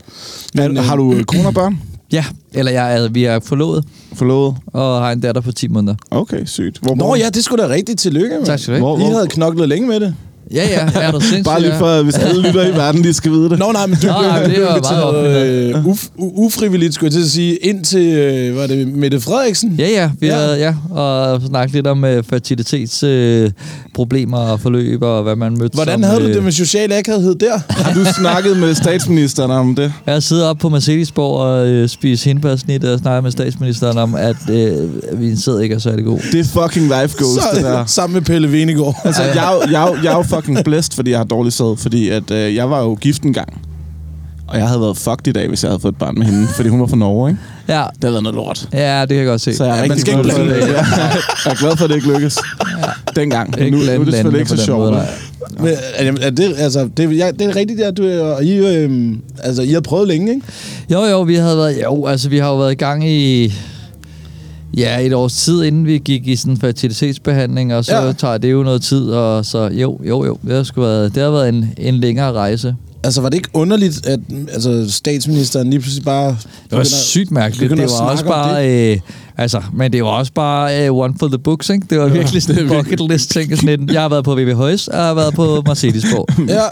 S4: Men, har du øh, kone og børn?
S5: Ja, eller jeg er, vi er forlovet
S4: Forlovet?
S5: og har en datter på 10 måneder.
S4: Okay, sygt. Hvor
S3: Nå
S4: bor I?
S3: ja, det skulle da rigtigt tillykke med.
S5: Tak skal du have.
S4: Hvor-
S3: I
S4: hvor-
S3: havde knoklet længe med det.
S5: Ja, ja, er du sindssyg?
S4: Bare lige
S5: ja.
S4: for, at hvis
S3: (laughs)
S4: alle lytter i verden, de skal vide det.
S3: Nå, nej, men du
S5: Nå,
S3: blev,
S5: nej, men det
S3: det
S5: var
S3: var (laughs)
S5: meget
S3: meget øh, uf, u- ufrivilligt, skulle jeg til at sige, ind til, øh, var det Mette Frederiksen?
S5: Ja, ja, vi
S3: Ja.
S5: ja. Havde, ja, og snakket lidt om øh, fertilitetsproblemer øh, problemer og forløb, og hvad man mødte
S3: Hvordan
S5: som,
S3: havde du
S5: øh,
S3: det med social akavighed der?
S4: Har du snakket med statsministeren om det?
S5: Jeg sidder oppe på Mercedesborg og øh, spiser hindbærsnit og snakker med statsministeren om, at øh, vi sidder ikke er særlig god.
S4: Det er fucking life goals,
S3: Så, øh,
S4: det der.
S3: Sammen med Pelle Venegård.
S4: (laughs) Altså, jeg, er jo- jeg, er jo- jeg er jo fucking blæst, fordi jeg har dårlig sæd, fordi at, øh, jeg var jo gift en gang. Og jeg havde været fucked i dag, hvis jeg havde fået et barn med hende, fordi hun var fra Norge, ikke?
S5: Ja,
S4: Det havde været noget lort.
S5: ja, det kan jeg godt se.
S4: Så jeg er
S3: Ja, man
S4: rigtig
S3: skal
S4: glad
S3: ikke
S4: for, at det
S3: blande
S4: ikke (laughs) Jeg er glad for, at det ikke lykkes. Dengang. Nu,
S5: Ikke
S4: nu er
S5: blande
S4: det selvfølgelig
S5: landene
S4: ikke
S5: på
S4: så
S5: den
S4: sjovt.
S5: måde,
S4: vel?
S3: Men,
S5: nej.
S3: er det- er det, altså, det, jeg, det er rigtigt, at du, og I, øh, altså, I har prøvet længe, ikke?
S5: Jo, jo, vi havde været, jo, altså vi har jo været i gang i ja, et års tid, inden vi gik i sådan en fertilitetsbehandling, og så
S3: Ja.
S5: ja. tager det jo noget tid, og så jo, jo, jo, det har, sgu været, det har været en, en længere rejse.
S3: Altså, var det ikke underligt, at altså, statsministeren lige pludselig bare...
S5: Det var sygt mærkeligt.
S3: begynder
S5: Det
S3: at
S5: var også
S3: snakke om
S5: bare... Øh, altså, men det var også bare øh, one for the books, ikke? Det var virkelig sådan en bucket list ting. Sådan en, jeg har været på VB Højs, og jeg har været på
S3: (laughs)
S5: Mercedesborg.
S3: Ja,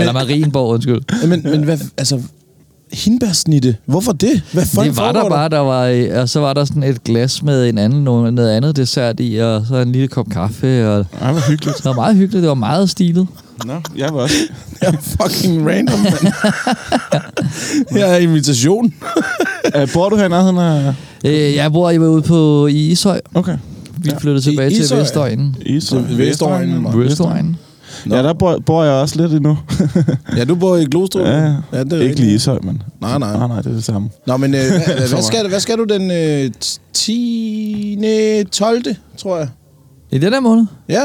S5: Eller Marienborg, undskyld.
S3: men, men hvad, altså, hindbærsnitte, hvorfor det? Hvad fanden
S5: det var der
S3: foregår
S5: bare, der var, øh, og så var der sådan et glas med en anden, noget noget andet dessert i, og så en lille kop kaffe, og
S4: Ej, hvor hyggeligt.
S5: det var meget hyggeligt, det var meget stilet.
S4: Nå, jeg var også.
S3: Det er fucking random, (laughs) mand. Her er invitation.
S4: (laughs) Øh, bor du her i nærheden af...
S5: Øh, jeg bor jo ude på i Ishøj.
S4: Okay.
S5: Vi flyttede
S3: i
S5: tilbage til
S3: Ishøj?
S5: Vestøjen.
S4: Isø.
S3: Til Vestøjen.
S5: Vestøjen.
S4: Ja, der bor, bor jeg også lidt endnu.
S3: Ja, du bor i Glostrup.
S4: (laughs) Ja, ja.
S3: ja det er
S4: Ikke lige Ishøj, men...
S3: Nej, nej.
S4: Nej, nej, det er det samme.
S3: Nå, men øh, hvad,
S4: For
S3: hvad, skal, hvad skal du den øh, 10. 12. tror jeg?
S5: I den her måned?
S3: Ja.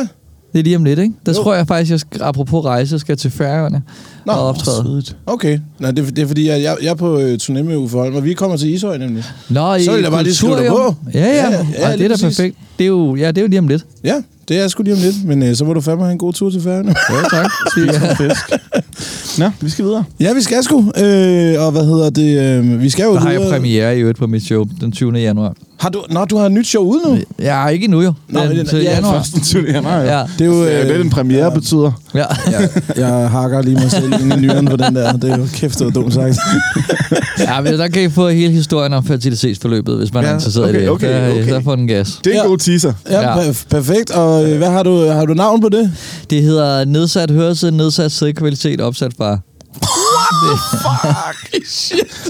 S5: Det er lige om lidt, ikke? Der
S3: Jo.
S5: jo. tror jeg faktisk, jeg skal, apropos rejse, skal til Færøerne
S3: Nå,
S5: Nå, og optræde.
S4: Sødt.
S3: Okay. Nå, det, er- det er fordi, jeg, jeg, jeg er på øh, turné med Uffe Holm, og vi kommer til Ishøj nemlig.
S5: Nå, i
S3: Så vil jeg bare lige skrive dig
S5: Kulturium.
S3: på.
S5: Ja, ja.
S3: Ja,
S5: ja,
S3: ja,
S5: ja Ej, det
S3: lige
S5: er da
S3: præcis.
S5: perfekt. Det er jo, ja, det er jo lige om lidt.
S3: Ja, det er sgu lige om lidt, men øh, så må du fandme have en god tur til færgerne.
S5: Ja,
S3: (laughs)
S5: tak.
S4: Ja. Fisk. Nå, vi skal (laughs) videre.
S3: ja, vi skal sgu. Øh, og hvad hedder det? Øh, vi skal jo
S5: Der har
S3: ud
S5: jeg
S3: og-
S5: premiere i øvrigt på mit show den 20. januar.
S3: Har du, nå, du har et nyt show ude nu?
S5: Ja, ikke endnu jo.
S3: Nå, men
S5: Den,
S3: den-
S5: til
S3: ja,
S5: januar.
S4: Først den 20. januar, jo.
S5: Ja.
S3: Det er jo øh,
S4: Det er jo det, en premiere ja. betyder.
S5: ja.
S3: ja, (laughs) jeg hakker lige mig selv ind i nyren på den der. Det er jo kæft, det var dumt (laughs) sagt.
S5: (laughs) ja, men der kan I få hele historien om fertilitetsforløbet, hvis man
S4: Ja,
S5: er interesseret
S4: okay,
S5: i det.
S4: okay,
S5: der,
S4: okay.
S5: der får den gas.
S4: Det er en
S3: Ja.
S4: god teaser.
S3: Ja,
S5: Ja.
S3: Per- perfekt. Og øh, hvad har du, har du navn på det?
S5: Det hedder nedsat hørelse, nedsat sædkvalitet, opsat far. (laughs) Fuck!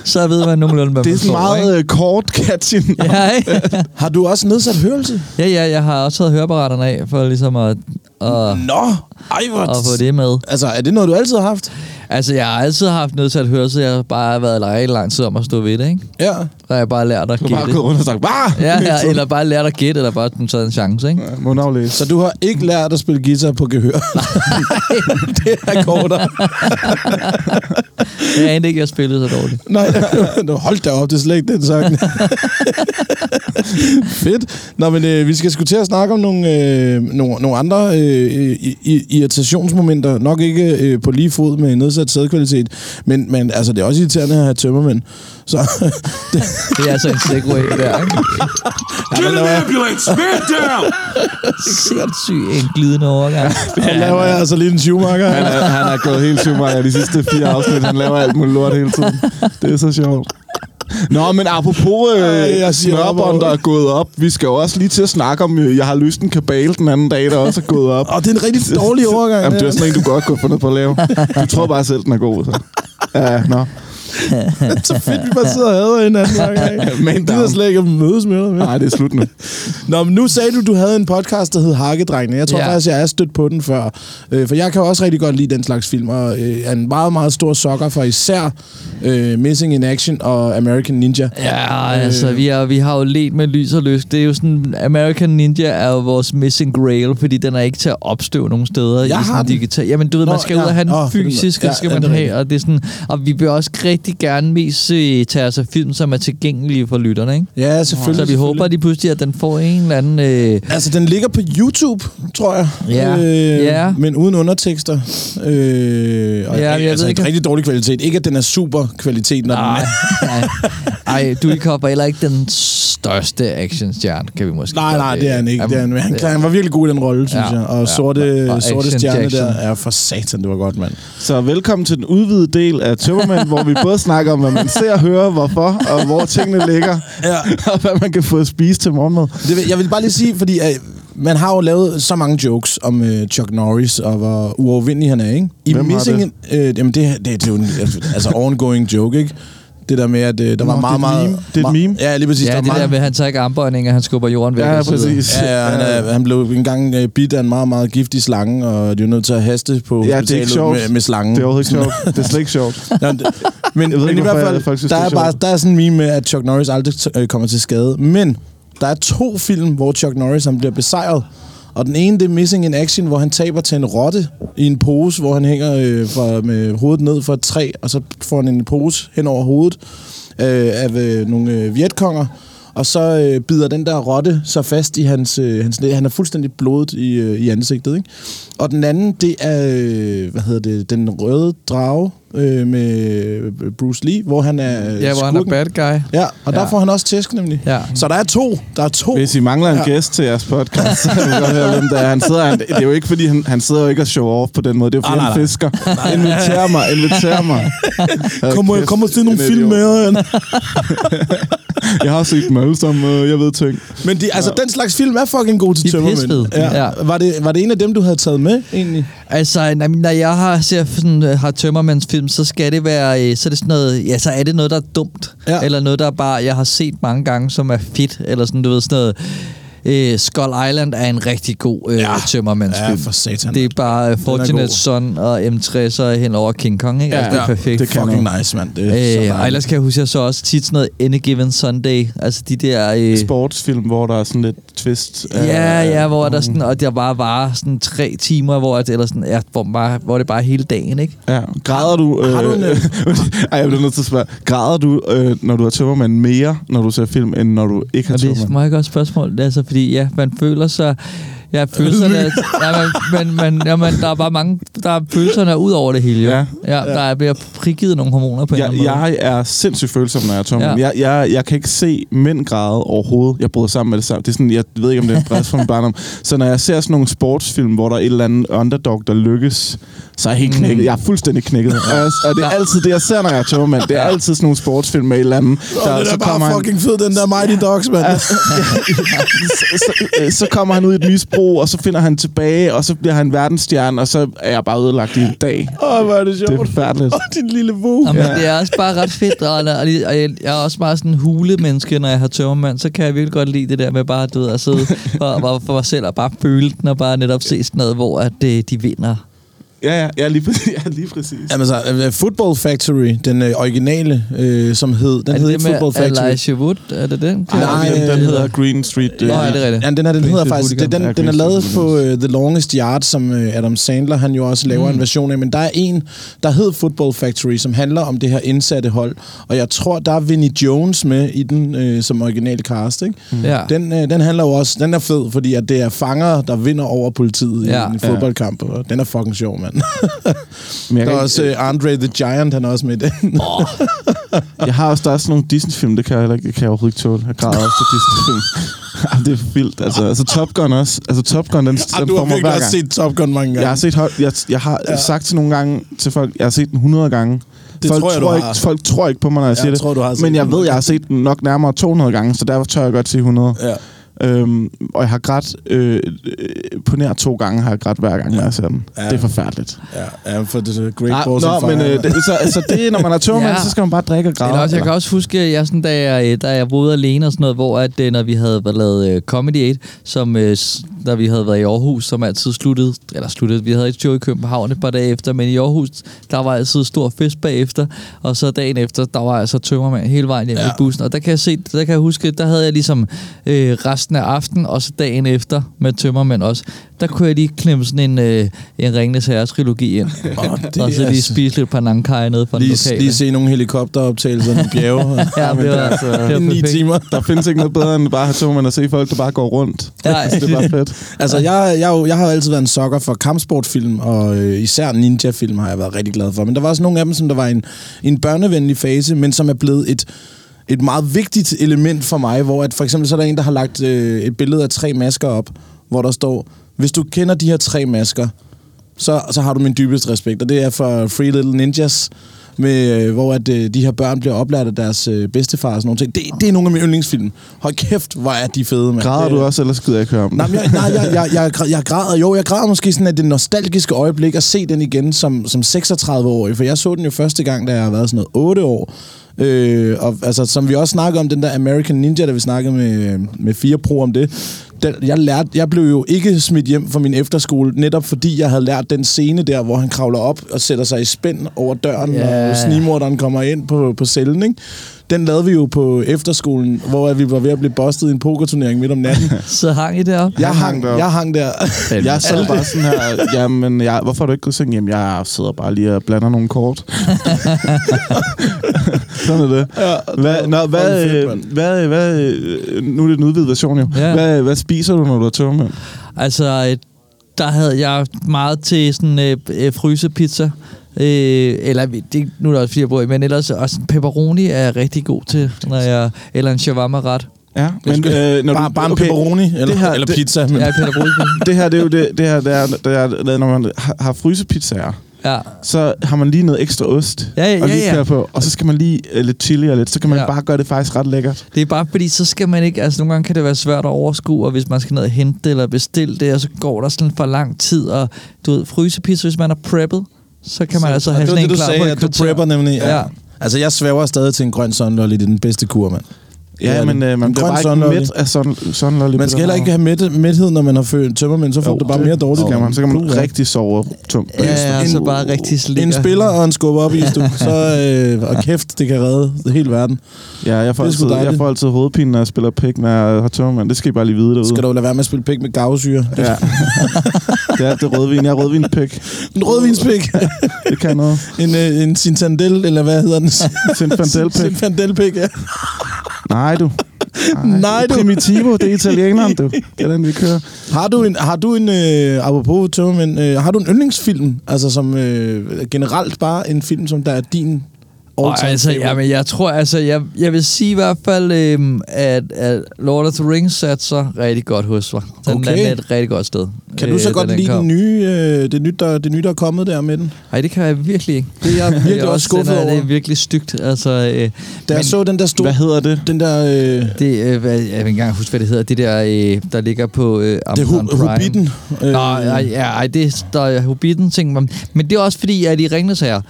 S5: Så ved man nogenlunde, hvad
S4: Det er
S5: man
S4: sådan
S5: får,
S4: meget
S5: ikke?
S4: øh, kort catching.
S5: (laughs) Ja, ikke?
S3: Har du også nedsat hørelse?
S5: Ja, ja, jeg har også taget høreapparaterne af, for ligesom at, at,
S3: Nå, ej hvor...
S5: at få det med.
S3: Altså, er det noget, du altid har haft?
S5: Altså, jeg har altid haft nedsat hørelse, jeg har bare været lege lang tid om at stå ved det, ikke?
S3: Ja.
S5: Der har jeg bare lært at
S4: Du har bare
S5: gætte.
S4: gået rundt og sagt, bare!
S5: Ja, ja, eller bare lært at gætte, eller bare sådan taget en chance, ikke?
S4: Må hun aflæse.
S3: Så du har ikke lært at spille guitar på (laughs) gehør? (laughs) det er akkorder.
S5: Jeg anede ikke, jeg spillede så dårligt.
S3: Nej, (laughs) nu hold da op, det er slet ikke den sang. (laughs) Fedt. Nå, men øh, vi skal sgu til at snakke om nogle, øh, nogle, nogle andre øh, i- i- irritationsmomenter. Nok ikke øh, på lige fod med nedsat sædkvalitet, men, men altså, det er også irriterende at have tømmermænd. Så
S4: (laughs)
S3: det,
S5: Det er altså en segway der, ikke?
S2: Get an ambulance! Man down!
S5: Sindssyg en glidende overgang.
S3: ja, laver jeg altså lige en Schumacher.
S4: Han er, han er gået helt Schumacher de sidste fire afsnit. Han laver alt muligt lort hele tiden. Det er så sjovt. Nå, men apropos
S3: Ej, jeg
S4: øh,
S3: siger
S4: smørbånd,
S3: op
S4: der
S3: over.
S4: er gået op. Vi skal jo også lige til at snakke om, øh, jeg har løst en kabale den anden dag, der også er gået op.
S3: Og det er en
S4: (laughs)
S3: rigtig dårlig overgang.
S4: Jamen, det
S3: der.
S4: er sådan en, du godt kunne finde på at lave. Du tror bare selv, den er god. Så. Ja, nå.
S3: så fedt, vi bare sidder og hader hinanden. hver
S4: (laughs)
S3: gang.
S4: Man
S3: Vi gider
S4: down.
S3: slet ikke at mødes med dig.
S4: Nej, det er slut nu.
S3: Nå, men nu sagde du, du havde en podcast, der hed Hakkedrengene. Jeg tror ja.
S5: Ja.
S3: faktisk, jeg er stødt på den før. Øh, for jeg kan også rigtig godt lide den slags film, og øh, er en meget, meget stor sokker for især øh, Missing in Action og American Ninja.
S5: Ja,
S3: Øh.
S5: altså, vi, er, vi har jo let med lys og lyst. Det er jo sådan, American Ninja er jo vores missing grail, fordi den er ikke til at opstøve nogen steder.
S3: Jeg
S5: i sådan
S3: har den.
S5: digital. Jamen, du ved,
S3: Nå,
S5: man skal
S3: ja.
S5: ud og have den
S3: Åh,
S5: oh,
S3: på den måde.
S5: fysisk,
S3: Ja,
S5: ja, skal
S3: ja,
S5: man
S3: det er rigtigt.
S5: have, og det er sådan, og vi vil også rigtig gerne mest se, tage os af film, som er tilgængelige for lytterne, ikke?
S3: Ja, selvfølgelig.
S5: Så vi
S3: selvfølgelig.
S5: håber lige pludselig, at den får en eller anden... Øh,
S3: Altså, den ligger på YouTube, tror jeg. Øh,
S5: Ja. Ja.
S3: Men uden undertekster. Øh, og ja,
S5: jeg
S3: altså, ikke.
S5: ved ikke.
S3: en rigtig dårlig kvalitet. Ikke, at den er super kvalitet, når den
S5: nej,
S3: er.
S5: ah, (laughs) nej. Ej, du er heller ikke den største actionstjerne, kan vi måske
S3: Nej,
S5: godt,
S3: nej,
S5: øh,
S3: det er han ikke. Det er han, men han,
S5: det-
S3: han var virkelig god i den rolle, synes
S5: Ja,
S3: jeg. Og
S5: ja.
S3: sorte,
S5: Og- og
S3: sorte
S5: Action
S3: stjerne
S5: Jackson.
S3: der. Ja, for satan, det var godt, mand.
S4: Så velkommen til den udvidede del af Tømmermænd, hvor vi både snakker om, hvad man ser og hører, hvorfor, og hvor tingene ligger,
S3: Ja.
S4: og hvad man kan få at spise til morgenmad.
S3: Det, vil- jeg vil bare lige sige, fordi øh, man har jo lavet så mange jokes om øh, Chuck Norris, og hvor uovervindelig han er, ikke? I
S4: Hvem har
S3: Missing...
S4: det?
S3: In- Øh, jamen, det, det, det er jo en altså, ongoing joke, ikke? Det der med, at øh, der
S4: Nå,
S3: var
S4: det er
S3: meget,
S4: et
S3: meget...
S4: meme. Det er et
S3: meget-
S4: meme.
S3: Ja, lige præcis.
S5: Ja,
S3: var
S5: det
S3: meget-
S5: der med, at han tager ikke armbøjninger, han skubber jorden væk.
S4: Ja,
S5: og så videre.
S4: præcis.
S3: Ja, ja, han, er, han blev engang øh, bidt af en meget, meget giftig slange, og de er nødt til at haste på
S4: Ja, det er
S3: hospitalet
S4: ikke sjovt.
S3: med, med slangen.
S4: Det er overhovedet
S3: (laughs)
S4: ikke sjovt. Det er slet ikke sjovt.
S3: Nå, det- men,
S4: (laughs) Jeg ved
S3: men
S4: ikke,
S3: i hvert
S4: hvorfor
S3: fald,
S4: jeg faktisk synes,
S3: der
S4: det er
S3: er, bare,
S4: sjovt.
S3: der er sådan en meme med, at Chuck Norris aldrig øh, kommer til skade. Men der er to film, hvor Chuck Norris han bliver besejret. Og den ene, det er Missing in Action, hvor han taber til en rotte i en pose, hvor han hænger øh, fra, med hovedet ned for et træ, og så får han en pose hen over hovedet øh, af øh, nogle øh, vietkonger. Og så øh, bider den der rotte så fast i hans... Øh, hans næ- han er fuldstændig blodet i, øh, i ansigtet, ikke? Og den anden, det er... Øh, hvad hedder det? Den røde drage øh, med Bruce Lee, hvor han er øh,
S5: Ja, hvor han er
S3: skurken.
S5: bad guy.
S3: Ja, og der
S5: Ja.
S3: får han også tæsk, nemlig.
S5: Ja.
S3: Så der er to. Der er to.
S4: Hvis I mangler en
S3: Ja.
S4: ja. gæst til jeres podcast, så kan I godt høre, hvem der er. Han sidder, han, det er jo ikke, fordi han, han sidder jo ikke og show off på den måde. Det er jo, fordi
S3: Ah, nej,
S4: han
S3: nej.
S4: fisker. Inviter mig, inviter
S3: (laughs)
S4: mig. Hold
S3: Kom, og-
S4: kæft,
S3: kom og se nogle
S4: han er
S3: film med
S4: idiot.
S3: jer.
S4: Jeg har set dem alle sammen, øh, jeg ved ting.
S3: Men de, altså, den slags film er fucking god til
S5: De er
S3: tømmermænd.
S5: pissefede.
S3: Ja.
S5: Ja.
S3: Var, det, var det en af dem, du havde taget med, egentlig?
S5: Altså, når- når jeg har, ser sådan, øh, har tømmermandsfilm, så skal det være, øh, så er det sådan noget, ja, så er det noget, der er dumt.
S3: Ja.
S5: Ja. Eller noget, der er bare, jeg har set mange gange, som er fedt. Eller sådan, du ved, sådan noget, øh, Skull Island er en rigtig god øh, ja. tømmermandsfilm.
S3: Ja, for satan,
S5: Det er
S3: mand.
S5: bare øh,
S3: god.
S5: Fortunate Son og M60 og hen over King Kong, ikke? Ja, altså, det er perfekt.
S3: Det er fucking nice, mand. Det er så
S5: Øh, og
S3: dejligt.
S5: ellers kan jeg huske, at jeg så også tit sådan noget Any Given Sunday. Altså de der... Øh,
S4: Sportsfilm, hvor der er sådan lidt twist. Øh, af-
S5: Ja, ja, Mm. hvor der
S4: Mhm.
S5: sådan, og der bare var sådan tre timer, hvor, at, eller sådan, ja, hvor, bare, hvor det bare er hele dagen, ikke?
S4: Ja. Græder du... Øh,
S3: Har du en, øh,
S4: (laughs) ej, jeg bliver nødt til at spørge. Græder du, øh, når du har tømmermand, mere, når du ser film, end når du ikke har
S5: Og det er et
S4: tømmermand?
S5: meget godt spørgsmål, altså, fordi ja, man føler sig... Ja, følelserne... er- ja, man, man, man, ja, man, der er bare mange... Der er følelserne er ud over det hele, jo.
S4: Ja.
S5: Ja. ja der er, bliver frigivet nogle hormoner på en eller
S4: Jeg,
S3: øh.
S5: anden måde.
S4: jeg er sindssygt følsom, når jeg er tømmermand.
S5: Ja.
S4: Jeg, jeg, jeg kan ikke se mænd græde overhovedet. Jeg bryder sammen med det samme. Det er sådan, jeg ved ikke, om det er en stress fra min barndom. Så når jeg ser sådan nogle sportsfilm, hvor der er et eller andet underdog, der lykkes, så er jeg
S3: Mm.
S4: helt knækket. Jeg er fuldstændig
S3: (laughs)
S4: knækket. Og, jeg, og det er altid det, jeg ser, når jeg er tømmermand. Det er altid sådan nogle sportsfilm med et eller andet.
S3: Åh, den er bare
S4: han-
S3: fucking fed, den der Mighty Dogs, mand.
S4: (laughs) så, så, øh, så kommer han ud i et misbrug, og så finder han tilbage, og så bliver han verdensstjerne, og så er jeg bare ødelagt i en dag.
S3: Åh, hvor er det
S4: Det er
S3: sjovt. (laughs)
S4: forfærdeligt.
S3: Åh, din lille vog.
S5: Jamen, ja. det er også bare ret fedt, og, og, og jeg, jeg er også bare sådan en hulemenneske, når jeg har tømmermand, så kan jeg virkelig godt lide det der med bare, du ved, at (laughs) sidde for, for, for mig selv og bare føle den, og bare netop se sådan noget, hvor at, øh, de vinder
S4: Ja, ja, ja, lige præcis. (laughs) Ja, lige præcis.
S3: Jamen så, øh, Football Factory, den øh, originale, øh, som hed, den
S5: er
S3: hed
S5: det det
S3: ikke Football
S5: med
S3: Factory.
S5: Elijah Wood? Er det den?
S3: Nej,
S4: den, den
S3: øh,
S4: hedder Green Street. Øh,
S5: Nå, ja, det er rigtigt.
S3: Ja, den her, den hedder
S5: Street
S3: faktisk, det,
S5: Hooligans.
S3: den,
S4: Ja,
S3: den er
S4: Green
S3: lavet
S4: Street
S3: på uh, The Longest Yard, som uh, Adam Sandler, han jo også laver mm. en version af, men der er en, der hed Football Factory, som handler om det her indsatte hold, og jeg tror, der er Vinnie Jones med i den uh, som original cast, ikke? Mm.
S5: Ja.
S3: Den, uh, den handler jo også, den er fed, fordi at det er fanger, der vinder over politiet ja.
S5: Ja.
S3: i en fodboldkamp, og den er fucking sjov, mand.
S4: Men jeg,
S3: der
S4: kan
S3: er
S4: ikke-
S3: også uh, Andre the Giant, han er også med i den.
S4: jeg har også der er sådan nogle Disney-film, det kan jeg, heller ikke- kan jeg overhovedet ikke tåle. Jeg græder også til (laughs) Disney-film. Jamen, det er vildt. Altså, altså Top Gun også. Altså Top Gun, den,
S3: Ah,
S4: den
S3: du har
S4: får mig
S3: virkelig
S4: hver
S3: også
S4: gang.
S3: set Top Gun mange gange.
S4: Jeg har, set, hold- jeg, jeg har ja. sagt til nogle gange til folk, jeg har set den 100 gange.
S3: Det
S4: folk,
S3: tror jeg, du
S4: tror
S3: har.
S4: ikke, folk tror ikke på mig, når jeg
S3: Ja,
S4: siger
S3: jeg
S4: det.
S3: tror, du har set
S4: men jeg
S3: den.
S4: ved, jeg har set den nok nærmere 200 gange, så derfor tør jeg godt sige 100.
S3: Ja.
S4: Øhm, og jeg har grædt øh, øh, på nær to gange, har jeg grædt hver gang, når jeg ser den.
S3: Ja.
S4: Ja. Det er forfærdeligt.
S3: Ja, ja, for det er Great
S4: Ah,
S3: Balls of
S4: nå,
S3: Fire.
S4: men øh, det, så, altså det, når man er tørmand, ja.
S5: (laughs) Ja.
S4: så skal man bare drikke og græde.
S5: Eller også, jeg kan
S4: eller?
S5: også huske, at jeg sådan, da jeg, øh, da jeg boede alene og sådan noget, hvor at, øh, når vi havde været lavet øh, Comedy 8, som, øh, s- da vi havde været i Aarhus, som altid sluttede, eller sluttede, vi havde et show i København et par dage efter, men i Aarhus, der var altid stor fest bagefter, og så dagen efter, der var altså tømmermand hele vejen hjem ja. i bussen, og der kan jeg se, der kan jeg huske, der havde jeg ligesom øh, resten af aftenen, og så dagen efter med tømmermænd også, der kunne jeg lige klemme sådan en, øh, en Ringnes Herres-trilogi ind,
S3: Åh, det
S5: og så
S3: er
S5: lige
S3: altså-
S5: spise lidt panangkai nede fra den
S3: Lige,
S5: lokale.
S3: lige se nogle helikopteroptagelser i bjerge.
S5: (laughs) Ja, det var, altså- det var
S3: I ni
S5: perfekt.
S3: timer.
S4: Der findes ikke noget bedre, end bare at have tørmand og se folk, der bare går rundt.
S5: (laughs) Nej.
S4: det er bare fedt.
S3: Altså, jeg, jeg, er jo- jeg har jo altid været en sokker for kampsportfilm, og øh, især ninja-film har jeg været rigtig glad for. Men der var også nogle af dem, som der var i en, i en børnevenlig fase, men som er blevet et et meget vigtigt element for mig, hvor at for eksempel så er der en, der har lagt øh, et billede af tre masker op, hvor der står, hvis du kender de her tre masker, så, så har du min dybeste respekt, og det er for Free Little Ninjas, med, øh, hvor at, øh, de her børn bliver oplært af deres øh, bedstefar og sådan nogle ting. Det, det er nogle af mine yndlingsfilm. Hold kæft, hvor er de fede, mand.
S4: Græder
S3: Det-
S4: du også, eller skider jeg ikke høre om det?
S3: Nej, men jeg, nej jeg, jeg, jeg, græ- jeg græder jo. Jeg græder måske sådan af det nostalgiske øjeblik at se den igen som, som 36-årig. For jeg så den jo første gang, da jeg har været sådan noget 8 år. Øh, og altså, som vi også snakkede om, den der American Ninja, da vi snakkede med, med fire pro om det. Den, jeg, lærte, jeg blev jo ikke smidt hjem fra min efterskole, netop fordi jeg havde lært den scene der, hvor han kravler op og sætter sig i spænd over døren,
S5: Ja,
S3: yeah. og
S5: ja.
S3: snimorderen kommer ind på, på cellen, ikke? Den lavede vi jo på efterskolen, hvor vi var ved at blive bustet i en pokerturnering midt om natten.
S5: Så hang I deroppe?
S3: Jeg
S4: hang
S3: hang,
S4: deroppe.
S3: jeg hang der.
S4: Jeg sad bare sådan
S3: (laughs)
S4: her, jamen, jeg, hvorfor har du ikke gået i seng? Jamen, jeg sidder bare lige og blander nogle
S5: (laughs)
S4: kort. sådan er det. Hvad, nå, hvad,
S3: fucking fedt,
S4: øh,
S3: mand.
S4: hvad, hvad, øh, nu er det en udvidet version jo.
S5: Ja.
S4: Hvad, hvad spiser du, når du er tørmand?
S5: Altså, øh, der havde jeg meget til sådan øh, øh, frysepizza. Øh, eller det, nu er der også fire brød, men ellers også pepperoni er jeg rigtig god til, når jeg, eller en shawarma ret.
S4: Ja, men øh, når
S3: Bare,
S4: du,
S3: bare en pepperoni eller,
S4: det her-
S3: eller
S4: det-
S3: pizza. Men,
S5: Jeg er
S3: (laughs)
S5: pædagog.
S4: Det her, det er jo det, det her, det er, det er, det er, når man har- har frysepizzaer,
S5: Ja.
S4: så har man lige noget ekstra ost.
S5: Ja, ja,
S4: og lige
S5: ja, ja.
S4: køre på, og så skal man lige øh, lidt chili og lidt, så kan man
S5: Ja.
S4: bare gøre det faktisk ret lækkert.
S5: Det er bare fordi, så skal man ikke... Altså, nogle gange kan det være svært at overskue, og hvis man skal ned og hente det eller bestille det, og så går der sådan for lang tid, og du ved, frysepizza, hvis man er preppet, så kan man så, altså
S3: og
S5: have
S3: det var
S5: sådan
S3: det,
S5: en
S3: du
S5: klar på
S3: sagde,
S5: et
S3: at du
S5: kvarter.
S3: prepper nemlig. Ja.
S5: Ja.
S3: Altså, jeg svæver stadig til en grøn sunlolly. Det er den bedste kur, mand. Det er
S4: Ja, men
S3: det.
S4: øh, man
S3: En
S4: bliver
S3: grøn
S4: bare
S3: sunlolly.
S4: ikke mæt af sådan sådan
S3: Man skal heller ikke have mæt, mæthed, når man har født tømmermænd. Så får du bare mere dårligt.
S4: Kan man, så kan man
S3: Puh, ja.
S4: rigtig sove tungt.
S5: Ja, ja,
S3: En-
S5: så bare rigtig slikker.
S3: En spiller og en skub op i, du.
S4: (laughs)
S3: Så, øh, og kæft, det kan redde hele verden.
S4: ja jeg, får
S3: Det er sgu
S4: altid, jeg
S3: dejligt.
S4: får altid hovedpine, når jeg spiller pik, når jeg har tømmermand. Det skal I bare lige vide derude.
S3: Skal du lade være med at spille pik med gavsyre? (laughs)
S4: Ja. det er det er rødvin. Jeg er rødvinspik.
S3: En
S4: (laughs)
S3: rødvinspik.
S4: Det kan noget.
S3: en, øh, en sintandel, eller hvad hedder den? (laughs)
S4: Sinfandelpik.
S3: Sinfandelpik, ja.
S4: Nej, du.
S3: Nej, du.
S4: Primitivo, det er italieneren, du. Det er den, vi kører.
S3: Har du en, har du en øh, apropos tømmermænd, øh, har du en yndlingsfilm, altså som øh, generelt bare en film, som der er din
S5: Og
S3: all-time
S5: altså,
S3: favorite?
S5: jamen, jeg tror, altså, jeg, jeg vil sige i hvert fald, øhm, at, at Lord of the Rings satte sig rigtig godt hos mig. Den
S3: Okay.
S5: okay. er et rigtig godt sted. øh,
S3: Kan du så
S5: da
S3: godt lide den nye, øh, det, nye der, det nye, der er kommet der med den?
S5: Nej, det kan jeg virkelig ikke. Det er (laughs) jeg
S3: virkelig også skuffet
S5: Det er
S3: over.
S5: virkelig stygt. Altså, øh,
S3: Da jeg
S5: men
S3: så den der store...
S4: Hvad hedder det?
S3: Den der... Øh,
S5: det, øh, hvad, jeg vil ikke engang huske, hvad det hedder. Det der, øh, der ligger på øh,
S3: det er
S5: Amazon
S3: Hu-
S5: Prime.
S3: Hobbiten.
S5: Øh, Nå, ej, ja, ej, det der er Hobbiten ting. Men, men det er også fordi, at i Ringnes her,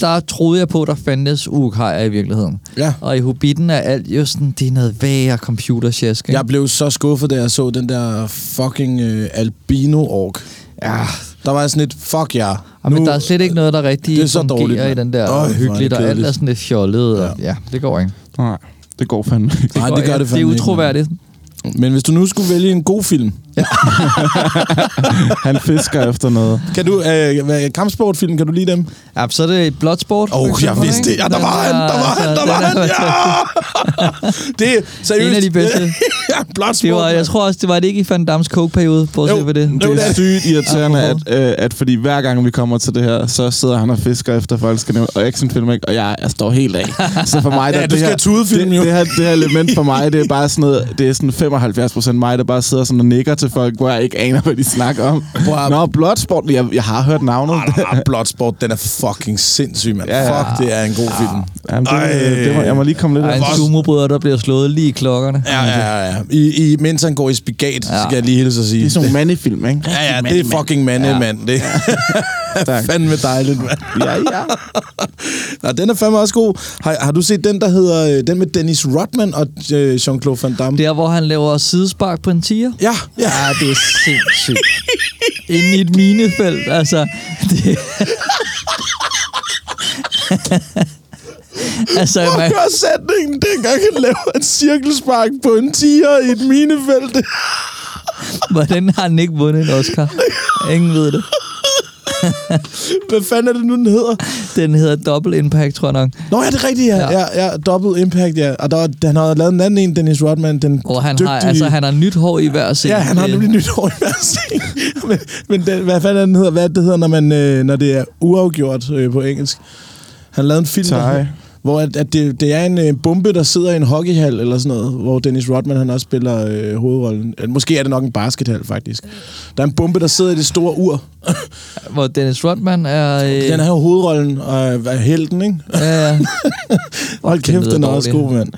S5: der troede jeg på, at der fandtes ukajer i virkeligheden.
S3: Ja.
S5: Og i Hobbiten er alt jo sådan, det er noget værre computersjask. ikke?
S3: Jeg blev så skuffet, da jeg så den der fucking øh, albino-ork.
S5: Ja,
S3: Der var jeg sådan lidt, fuck jer. Yeah.
S5: Ja, men der er slet ikke noget, der rigtig
S3: det
S5: det
S3: er så
S5: fungerer
S3: dårligt,
S5: i
S3: mand.
S5: den
S3: Øj,
S5: der
S3: hvor er
S5: Øj,
S3: det
S5: hyggeligt, og alt
S3: kedeligt.
S5: er sådan lidt fjollet. Og, ja. ja, det går ikke.
S4: Nej, det går fandme ikke.
S3: Nej, det gør det
S5: ikke. Det er
S3: fandme ikke,
S5: utroværdigt.
S3: Men hvis du nu skulle vælge en god film,
S4: Han fisker efter noget.
S3: kan du, øh, hvad- kampsportfilm, kan du lide dem?
S5: Ja, så er det Bloodsport. for
S3: Åh, oh, jeg
S5: eksempel,
S3: vidste det.
S5: ikke?
S3: Ja, der
S5: Den
S3: var han,
S5: er-
S3: der var han, der
S5: den
S3: var
S5: er
S3: han, ja! (laughs) Det er seriøst.
S5: En af de bedste.
S3: (laughs) ja, blot
S5: Det var, jeg tror også, det var det ikke i Van Dams coke-periode, på at
S3: Jo,
S5: se på
S3: jo,
S5: det.
S4: Det
S3: det
S4: er
S3: er-
S4: sygt irriterende, at, øh, at fordi hver gang vi kommer til det her, så sidder han og fisker efter folk, skal nævne, og actionfilm, ikke? og jeg, jeg står helt af. Så for mig, der,
S3: Ja, du
S4: det,
S3: skal
S4: her,
S3: tude film,
S4: det,
S3: jo.
S4: det, her, det her element for mig, det er bare sådan noget, det er sådan 75 procent mig, der bare sidder sådan og nikker til folk, hvor jeg ikke aner, hvad de snakker om.
S3: Wow.
S4: Nå, Bloodsport, jeg, jeg har hørt navnet.
S3: Ah, Bloodsport, den er fucking sindssyg, mand.
S4: Ja,
S3: Ja,
S4: ja.
S3: Fuck, det er en god film.
S4: Jamen, det, det, må, jeg må lige komme lidt
S5: Der er
S4: af.
S5: en sumobryder, der bliver slået lige i klokkerne.
S3: Ja, ja, ja. I, i, mens han går i spagat, ja. skal jeg lige hilse og sige.
S4: Det er sådan nogle mandefilm, ikke?
S3: Ja, ja, det er fucking mande, ja. mand. Det (laughs) er fandme dejligt, mand.
S4: Ja, ja.
S3: Nå, den er fandme også god. Har, har du set den, der hedder... øh, Den med Dennis Rodman og øh, Jean-Claude Van Damme?
S5: Der, hvor han laver sidespark på en tiger.
S3: Ja, ja.
S5: Ja, det er sindssygt. Inde i et minefelt, altså. Det... (laughs) altså, man,
S3: Gør sætningen, dengang han laver et cirkelspark på en tiger i et minefelt.
S5: hvordan har han ikke vundet en Oscar? Ingen ved det.
S3: Hvad fanden er det nu, den hedder?
S5: Den hedder Double Impact, tror jeg nok.
S3: Nå, ja, det er rigtigt, ja.
S5: Ja.
S3: ja. ja, ja Double Impact, ja. Og der, var- han har lavet en anden en, Dennis Rodman, den
S5: Hvor han
S3: dygtige...
S5: har, altså, han har nyt hår i hver scene.
S3: Ja, han har
S5: Det-
S3: nemlig nyt hår i hver scene. (laughs) men men den, hvad fanden er den hedder? Hvad er det, det hedder, når, man, øh, når det er uafgjort øh, på engelsk? Han lavede en film,
S4: Tie.
S3: der, hvor at, at det, det er en øh, bombe, der sidder i en hockeyhal eller sådan noget, hvor Dennis Rodman han også spiller øh, hovedrollen. Eller Måske er det nok en baskethal, faktisk. Der er en bombe, der sidder i det store ur.
S5: Hvor Dennis Rodman er... Øh,
S3: Den har jo hovedrollen og er helten, ikke?
S5: Ja, ja.
S3: Hold
S5: den
S3: kæft,
S5: lyder
S3: den er også
S5: dårlig.
S3: god, mand.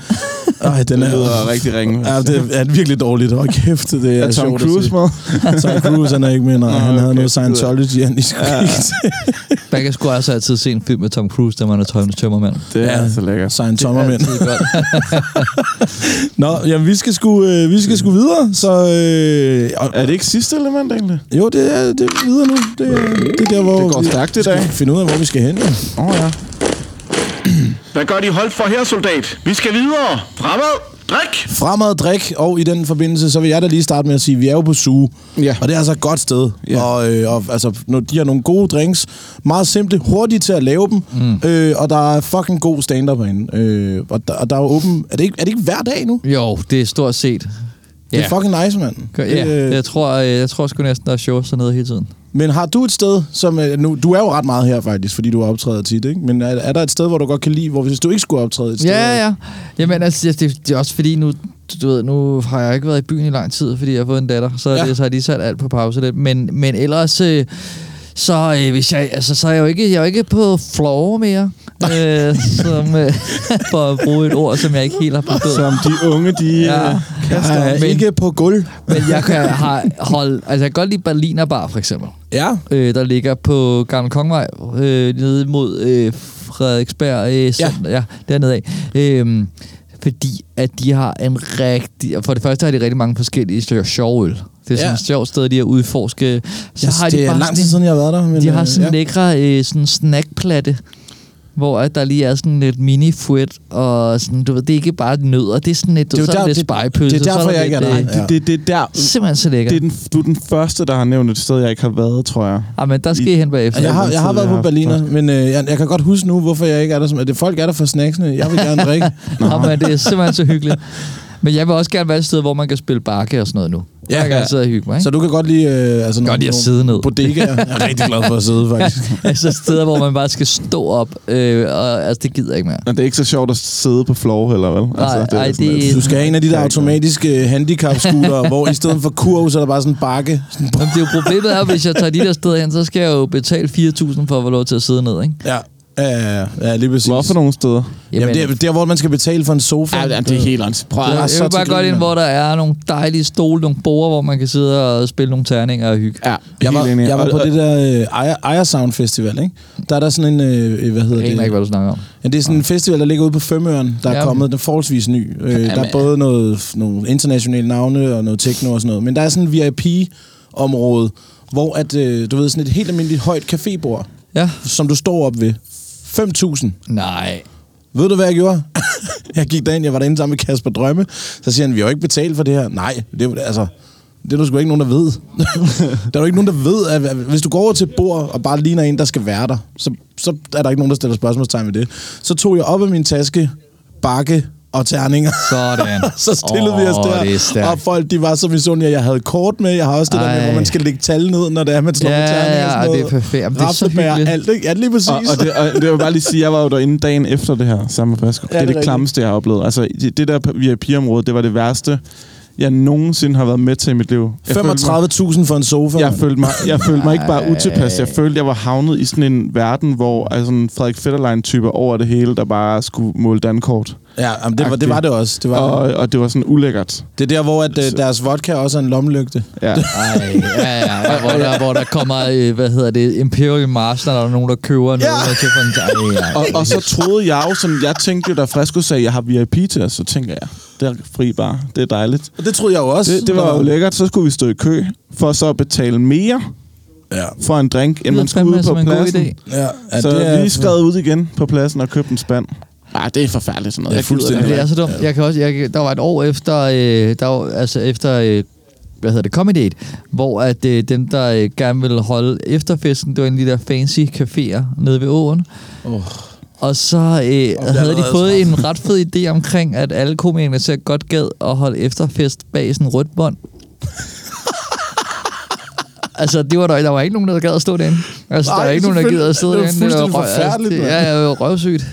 S3: Ej, den
S4: Det
S3: er...
S4: lyder rigtig ringe.
S3: Ja, det er virkelig dårligt. Hold kæft, det er,
S4: Er Tom
S3: sjovt at
S4: Cruise
S3: se.
S4: med?
S3: Tom Cruise, han er ikke med, nej. Han havde
S4: okay,
S3: noget
S4: det ved jeg.
S3: Scientology, han lige skulle kigge til.
S5: Man kan sgu altså altid se en film med Tom Cruise, der man er tøjende tømmermand.
S4: Det er så lækkert.
S3: Så en tommermænd.
S5: Altid godt.
S3: Nå, jamen, vi skal sgu, øh, vi skal sgu videre, så... Øh, og,
S4: Er det ikke sidste element, egentlig?
S3: jo, det er, det er videre nu. Det, er- det er der, hvor
S4: Det går stærkt i dag.
S3: Vi skal finde ud af, hvor vi skal hen. jo.
S4: Åh, oh, ja.
S6: Hvad gør de holdt for her, soldat? Vi skal videre. Fremad. Drik.
S3: Fremad drik, og i den forbindelse, så vil jeg da lige starte med at sige, at vi er jo på suge.
S4: Ja.
S3: Og det er altså et godt sted.
S4: Ja.
S3: Og, øh, og altså, når de har nogle gode drinks. Meget simple, hurtigt til at lave dem. Mm. Øh, og der er fucking god stand-up herinde. Øh, og, der, og der er jo åben... Er det, ikke, er det ikke hver dag nu?
S5: Jo, det er stort set.
S3: Det er fucking nice, mand.
S5: Ja, jeg tror, øh, jeg tror sgu næsten, der er shows dernede hele tiden.
S3: Men har du et sted, som... øh, Nu, du er jo ret meget her faktisk, fordi du optræder tit, ikke? Men er, er der et sted, hvor du godt kan lide, hvor hvis du ikke skulle optræde et sted?
S5: Ja, ja. Jamen, altså, det, det, det er også fordi, nu, du ved, nu har jeg ikke været i byen i lang tid, fordi jeg har fået en datter, så,
S3: Ja.
S5: ja. det, så har jeg lige sat alt på pause lidt. Men, men ellers... Øh, så, øh, hvis jeg, altså, så er jeg jo ikke, jeg er jo ikke på floor mere, øh, som, øh, (laughs) for at bruge et ord, som jeg ikke helt har forstået.
S4: Som de unge, de...
S5: Ja.
S4: Ja.
S3: Jeg er
S5: Men-
S3: øh, ikke på gulv.
S5: Men jeg kan, har, hold, altså, jeg kan godt lide Berliner Bar, for eksempel.
S3: Ja.
S5: øh, der ligger på Gamle Kongvej, øh, nede mod øh, Frederiksberg, øh, Center, ja. ja, dernede af. Øh, fordi at de har en rigtig... For det første har de rigtig mange forskellige stykker sjove øl. Det er sådan
S3: Ja.
S5: et sjovt sted, de er ude forske. Så
S3: Jeg,
S5: har
S3: det
S5: de
S3: er
S5: bare
S3: lang tid
S5: sådan,
S3: siden, jeg har været der. Men,
S5: en- de
S3: øh,
S5: har sådan en
S3: ja.
S5: lækre øh, sådan snackplatte, hvor at der lige er sådan lidt mini fuet og sådan, du ved, det er ikke bare nødder, det er sådan lidt,
S3: er
S5: det
S3: jo
S5: er så er der,
S3: der-
S5: lidt
S3: det-
S5: spejpølse.
S3: det er
S5: så
S3: derfor,
S5: der
S3: jeg ikke er
S5: lidt,
S3: der.
S4: Det,
S5: øh,
S4: det, det er der...
S5: Simpelthen så lækkert.
S4: Det er den, du er den første, der har nævnt et sted, jeg ikke har været, tror jeg.
S5: Ah, men der skal I hen bagefter.
S3: Jeg har, jeg har
S4: altid,
S3: været
S4: jeg
S3: på
S4: har
S3: Berliner, men øh, jeg, jeg kan godt huske nu, hvorfor jeg ikke er der. Som, at det folk er der for snacksene. Jeg vil gerne drikke.
S5: Nå, men det er simpelthen så hyggeligt. Men jeg vil også gerne være et sted, hvor man kan spille bakke og sådan noget nu.
S3: Ja,
S5: Ja, jeg kan
S3: ja.
S5: (laughs) ja. sidde og hygge mig, ikke?
S3: Så
S5: Så...
S3: du kan godt lide... Øh, altså,
S5: Godt lide at sidde ned. (laughs)
S3: Bodegaer. Jeg er rigtig glad for at sidde, faktisk.
S5: altså steder, hvor man bare skal stå op, øh, og altså, det gider jeg ikke mere.
S4: Og det er ikke så sjovt at sidde på floor heller, vel? Altså,
S5: Nej, nej,
S4: sådan
S5: det-
S4: lidt-
S3: Du skal have en af
S5: (laughs)
S3: de der automatiske handicap-scootere, hvor i stedet for kurv, så er der bare sådan en bakke. Sådan,
S5: Men det er jo problemet er, hvis jeg tager de der steder hen, så skal jeg jo betale 4.000 for at få lov til at sidde ned, ikke?
S3: ja. Ja, ja, ja, ja, lige præcis.
S4: Hvorfor nogle steder?
S3: Jamen, det er der, hvor man skal betale for en sofa.
S4: helt åndssigt. Prøv
S3: at-
S5: jeg,
S3: så
S5: jeg vil bare
S3: til
S5: godt
S3: grin,
S5: ind,
S3: mand.
S5: hvor der er nogle dejlige stole, nogle borer, hvor man kan sidde og spille nogle terninger og hygge.
S4: Ja,
S3: Jeg var,
S4: helt enig.
S3: jeg var
S4: Og-
S3: på
S4: og-
S3: det der øh, Ejer, Ejer Sound Festival, ikke? Der er der sådan en, øh, hvad hedder
S5: Jeg aner
S3: det?
S5: ikke, hvad du snakker om.
S3: Ja, det er sådan en festival, der ligger ude på Femøren, der er
S5: Ja,
S3: kommet.
S5: okay.
S3: Den er forholdsvis ny. Øh, der er både noget, nogle internationale navne og noget techno og sådan noget. Men der er sådan en VIP-område, hvor at, øh, du ved, sådan et helt almindeligt højt cafébord,
S5: Ja.
S3: som du står op ved, 5.000.
S5: Nej.
S3: Ved du, hvad jeg gjorde? (laughs) jeg gik derind, jeg var derinde sammen med Kasper Drømme. Så siger han, vi har jo ikke betalt for det her. Nej, det er jo- altså... Det er der sgu ikke nogen, der ved. (laughs) der er jo ikke nogen, der ved, at hvis du går over til et bord og bare ligner en, der skal være der, så, så er der ikke nogen, der stiller spørgsmålstegn ved det. Så tog jeg op af min taske, bakke og terninger.
S5: Sådan.
S3: (laughs) så stillede oh, vi os
S5: Åh, det er
S3: der,
S5: stærkt.
S3: og folk de var så misundelige. Jeg havde kort med, jeg har også det der med,
S5: Ej.
S3: hvor man skal lægge tal ned, når det er, man slår
S5: Ja,
S3: med terninger. og
S5: ja,
S3: sådan
S5: og det er
S3: noget.
S5: perfekt. Jamen, det er så
S3: Raftebær,
S5: hyggeligt.
S3: Alt, ikke? Ja, lige præcis.
S4: Og, og, det, og det vil jeg bare lige sige, jeg var jo derinde dagen efter det her sammen med Flasker. Ja,
S3: det er
S4: det er det,
S3: rigtigt.
S4: det klammeste, jeg har oplevet. Altså, det, det der VIP-område, det var det værste, jeg nogensinde har været med til i mit liv. Jeg følte mig-
S3: 35.000 for en sofa.
S4: Jeg følte mig, jeg følte mig ikke bare utilpas. Jeg følte, jeg var havnet i sådan en verden, hvor altså, en Frederik Fetterlein-type over det hele, der bare skulle måle dankort.
S3: Ja, jamen, det, var, det var det også. Det, var,
S4: Og,
S3: og,
S4: og det var sådan ulækkert.
S3: det er der, hvor at, øh, deres vodka også er en lommelygte.
S4: (laughs) Ja.
S5: Ej, ja, ja, ja, hvor, der, hvor der kommer, øh, hvad hedder det, Imperial Master, der er nogen, der køber noget. Ja. Til for en, ej, ej,
S4: Og, og så troede jeg jo, som jeg tænkte jo, da Fresco sagde, jeg har VIP til os, så tænker jeg, det er fri bar, det er dejligt.
S3: Og det troede jeg jo også.
S4: Det, det var jo lækkert, så skulle vi stå i kø, for så at betale mere
S3: Ja,
S4: for en drink, end
S5: lyder
S4: man skulle
S5: fandme
S4: ud på
S5: som en god
S4: pladsen.
S5: idé.
S3: ja, ja
S4: så
S3: det er,
S4: vi skred ud igen på pladsen og købte en spand. Ah, det er forfærdeligt sådan noget.
S3: Ja,
S4: Jeg gider
S3: fuldstændig.
S5: Jamen,
S4: ikke.
S5: det er så dumt. Jeg kan også, jeg, kan- der var et år efter, øh, der var, altså efter øh, hvad hedder det, Comedy Date, hvor at, øh, dem, der øh, gerne ville holde efterfesten, det var en af de der fancy caféer nede ved åen.
S3: Åh.
S5: Og så øh, havde de
S3: allerede
S5: fået en ret fed idé omkring, at alle komikerne ser godt gad at holde efterfest bag sådan en rødt
S3: (laughs)
S5: bånd. altså, det var der, der var ikke nogen, der gad at stå derinde. Altså, der
S3: Nej,
S5: var ikke nogen, der
S3: selvfølgelig.
S5: gider at sidde
S3: Det var
S5: derinde.
S3: fuldstændig
S5: røv- altså,
S3: forfærdeligt,
S5: det-
S3: mand.
S5: Ja, ja, det var røvsygt.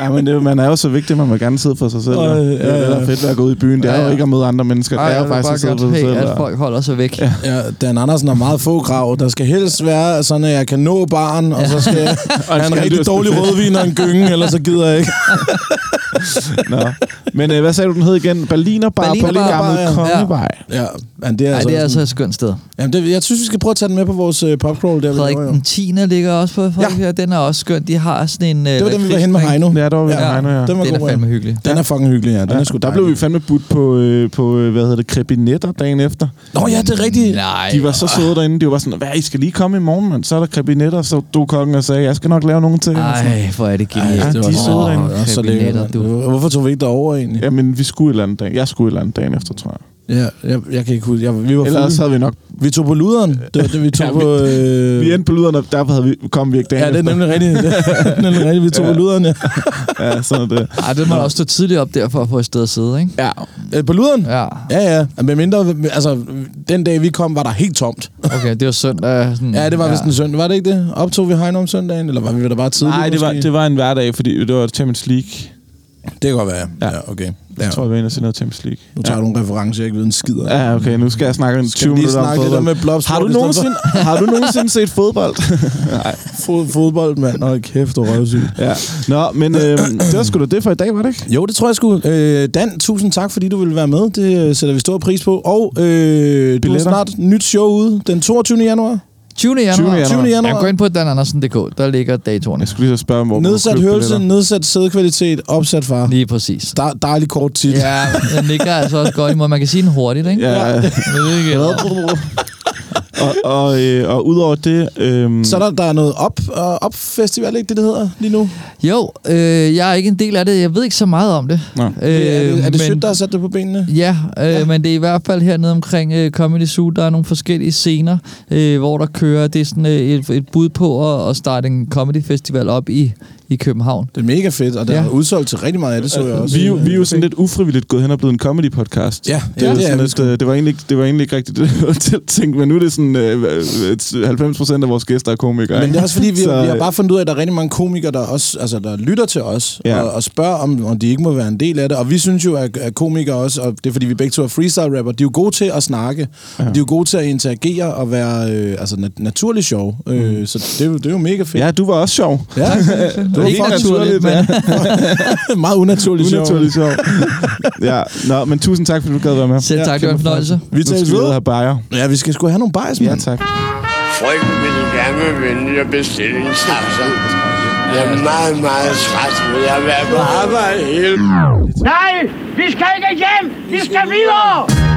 S4: Ja, men det, man er jo så vigtig, man må gerne sidde for sig selv.
S3: Øj,
S4: Øh, øh, det er
S3: ja,
S4: det, der
S3: ja.
S4: er fedt ved at gå ud i byen. Det
S5: Ja,
S4: er jo
S5: ja.
S4: ikke at møde andre mennesker.
S5: Ej,
S4: det er
S5: jeg
S4: jo
S5: vil bare
S4: faktisk at sidde for
S5: godt
S4: sig selv.
S5: have, at
S4: og-
S5: folk holder sig væk.
S3: ja, Dan Andersen har meget få krav. Der skal helst være sådan, at jeg kan nå barn, og så skal
S4: (laughs)
S3: jeg
S4: han
S3: have en
S4: skal
S3: rigtig
S4: dyrke
S3: dårlig
S4: specielt.
S3: rødvin og en
S4: (laughs)
S3: gynge, ellers så gider jeg ikke.
S4: Nå. Men øh, hvad sagde du, den hed igen? Berliner Bar
S5: Berliner
S4: på den
S5: Bar,
S4: gamle
S3: ja.
S4: Kongevej.
S3: Ja, men det er,
S5: Nej,
S3: altså
S5: det
S3: også
S5: er altså
S3: sådan-
S5: et skønt sted.
S3: Jamen, det, jeg synes, vi skal prøve at tage den med på vores øh, popcrawl. Der, vi
S5: Frederik
S3: laver, jo.
S5: den 10. ligger også på Frederik her. Den er også skøn. De har sådan en... øh,
S3: det var den, vi var hen med Heino.
S4: Ja, der var vi med Heino, ja.
S3: Den var
S5: Den er
S3: god,
S5: fandme
S3: ja.
S5: hyggelig.
S3: Den er fucking hyggelig, ja. Den er sgu
S4: Der blev vi
S3: dejlig.
S4: fandme budt på, øh, på øh, hvad hedder det, krebinetter dagen efter.
S3: Nå ja, det er rigtigt.
S5: Nej.
S4: De var så søde derinde. De var bare sådan, hvad, I skal lige komme i morgen, mand. Så er der krebinetter, så du kongen og sagde, jeg skal nok lave nogen til. jer." Og sådan.
S5: Ej, hvor er det genialt.
S3: Ej,
S4: de er søde derinde.
S3: det var så lækkert.
S5: Du.
S3: mand. Hvorfor tog vi ikke derover egentlig?
S4: Jamen, vi skulle et eller andet dag. Jeg skulle et eller andet dagen efter, tror jeg.
S3: Ja, jeg, jeg kan ikke huske. Jeg, vi var fulde.
S4: Ellers havde vi nok...
S3: Vi tog på luderen. Det var det, vi tog
S4: Ja,
S3: på... Øh...
S4: Vi endte på lyderne, derfor havde vi, kom vi ikke dagen
S3: ja, det er
S4: efter.
S3: nemlig rigtigt. Det er nemlig rigtigt. Vi tog på luderen, ja.
S4: Ja, sådan er det.
S5: Ej, det må også stå tidligt op der for at få et sted at sidde, ikke?
S3: ja. Øh, på luderen?
S5: Ja.
S3: Ja, ja. Men mindre, altså, den dag vi kom, var der helt tomt.
S5: Okay, det var søndag. Sådan,
S3: Ja, det var vist en søndag. Var det ikke det? Optog vi Heino om søndagen, eller var vi der bare tidligt?
S4: Nej, det var,
S3: måske?
S4: det var en hverdag, fordi det var Champions League.
S3: det kan godt være. Ja,
S4: Ja.
S3: ja okay. Ja.
S4: Jeg tror, jeg var inde og se noget Champions League.
S3: Nu tager du en reference, jeg ikke ved en skid om.
S4: Ja, okay, nu skal jeg snakke en
S3: Skal
S4: 20
S3: vi lige
S4: minutter om øh,
S3: snakke lidt
S4: fodbold.
S3: om med blobsport
S4: har, du
S3: i stedet for?
S4: nogensinde, har du nogensinde set fodbold?
S3: Fod, fodbold, mand. Åh, kæft, du røvsyg.
S4: (laughs) ja. Nå, men øh, det var sgu da det for i dag, var det ikke?
S3: Jo, det tror jeg sgu. Øh, Dan, tusind tak, fordi du ville være med. Det øh, sætter vi stor pris på. Og øh, du har
S4: Billetter.
S3: snart nyt show ude den 22. januar.
S5: 20. januar.
S4: 20. januar.
S3: 20.
S5: Ja,
S3: januar.
S5: gå ind på danandersen.dk. Der ligger datoerne.
S4: Jeg skulle lige så spørge, hvor
S3: Nedsat
S4: man kunne købe
S3: hørelse,
S4: billetter.
S3: nedsat sædkvalitet, opsat far.
S5: Lige præcis.
S3: Der, dejlig kort titel.
S5: Ja, den ligger altså også godt i måde. Man kan sige den hurtigt, ikke?
S4: Ja, ja.
S5: Men det er ikke-
S4: og, og, øh, og udover det... Øh,
S3: Så er der, der er noget op, øh, op festival, ikke det, det hedder lige nu?
S5: Jo, øh, jeg er ikke en del af det. Jeg ved ikke så meget om det.
S4: Nå.
S5: Øh,
S3: Øh, er det, er
S4: Øhm,
S3: det
S5: men,
S3: Sødt, der har sat det på benene?
S5: Ja, øh, ja, men det er i hvert fald hernede omkring øh, Comedy Zoo, der er nogle forskellige scener, øh, hvor der kører, det er sådan øh, et, et bud på at, at starte en comedy festival op i, i København.
S3: Det er mega fedt, og det
S5: Ja.
S3: er udsolgt til rigtig meget af det, så jeg også.
S4: Øh, vi, er jo- vi er jo sådan lidt ufrivilligt gået hen og blevet en comedy-podcast.
S3: Ja,
S4: det,
S3: ja,
S4: er
S3: det er
S4: sådan
S3: vi
S4: lidt, øh, det, var egentlig, ikke- det var egentlig ikke rigtigt det, jeg var til at tænke, men nu er det sådan, øh, øh, 90 procent af vores gæster er komikere.
S3: Men det er også fordi, vi,
S4: Så,
S3: så, vi har
S4: øh,
S3: bare fundet ud af, at der er rigtig mange komikere, der, også, altså, der lytter til os
S4: Ja.
S3: ja. og, og spørger, om, om de ikke må være en del af det. Og vi synes jo, at, at komikere også, og det er fordi, vi begge to er freestyle-rapper, de er jo gode til at snakke. Ja. De er jo gode til at interagere og være øh, altså, nat- naturlig sjov. Øh, så det, er jo- det er jo mega fedt.
S4: Mm. øh, Ja, du var også sjov. (laughs)
S3: Ja,
S5: Det er ikke
S4: fucking
S5: naturligt, men
S4: naturligt,
S3: (laughs) meget unaturlig sjov.
S4: Unaturligt sjov. (laughs) ja, nå, men tusind tak, fordi du gad være med.
S5: selv tak, det var en fornøjelse.
S3: Vi
S4: Vi tager
S3: tages
S4: skal vi ud og
S3: ved.
S4: have bajer.
S3: Ja, vi skal sgu have nogle bajs,
S4: Ja,
S3: mand.
S4: tak.
S7: Folk ville gerne vælge at bestille en snapser. Jeg er meget, meget træt, men jeg vil være på arbejde hele
S8: Nej, vi skal ikke hjem! Vi skal videre!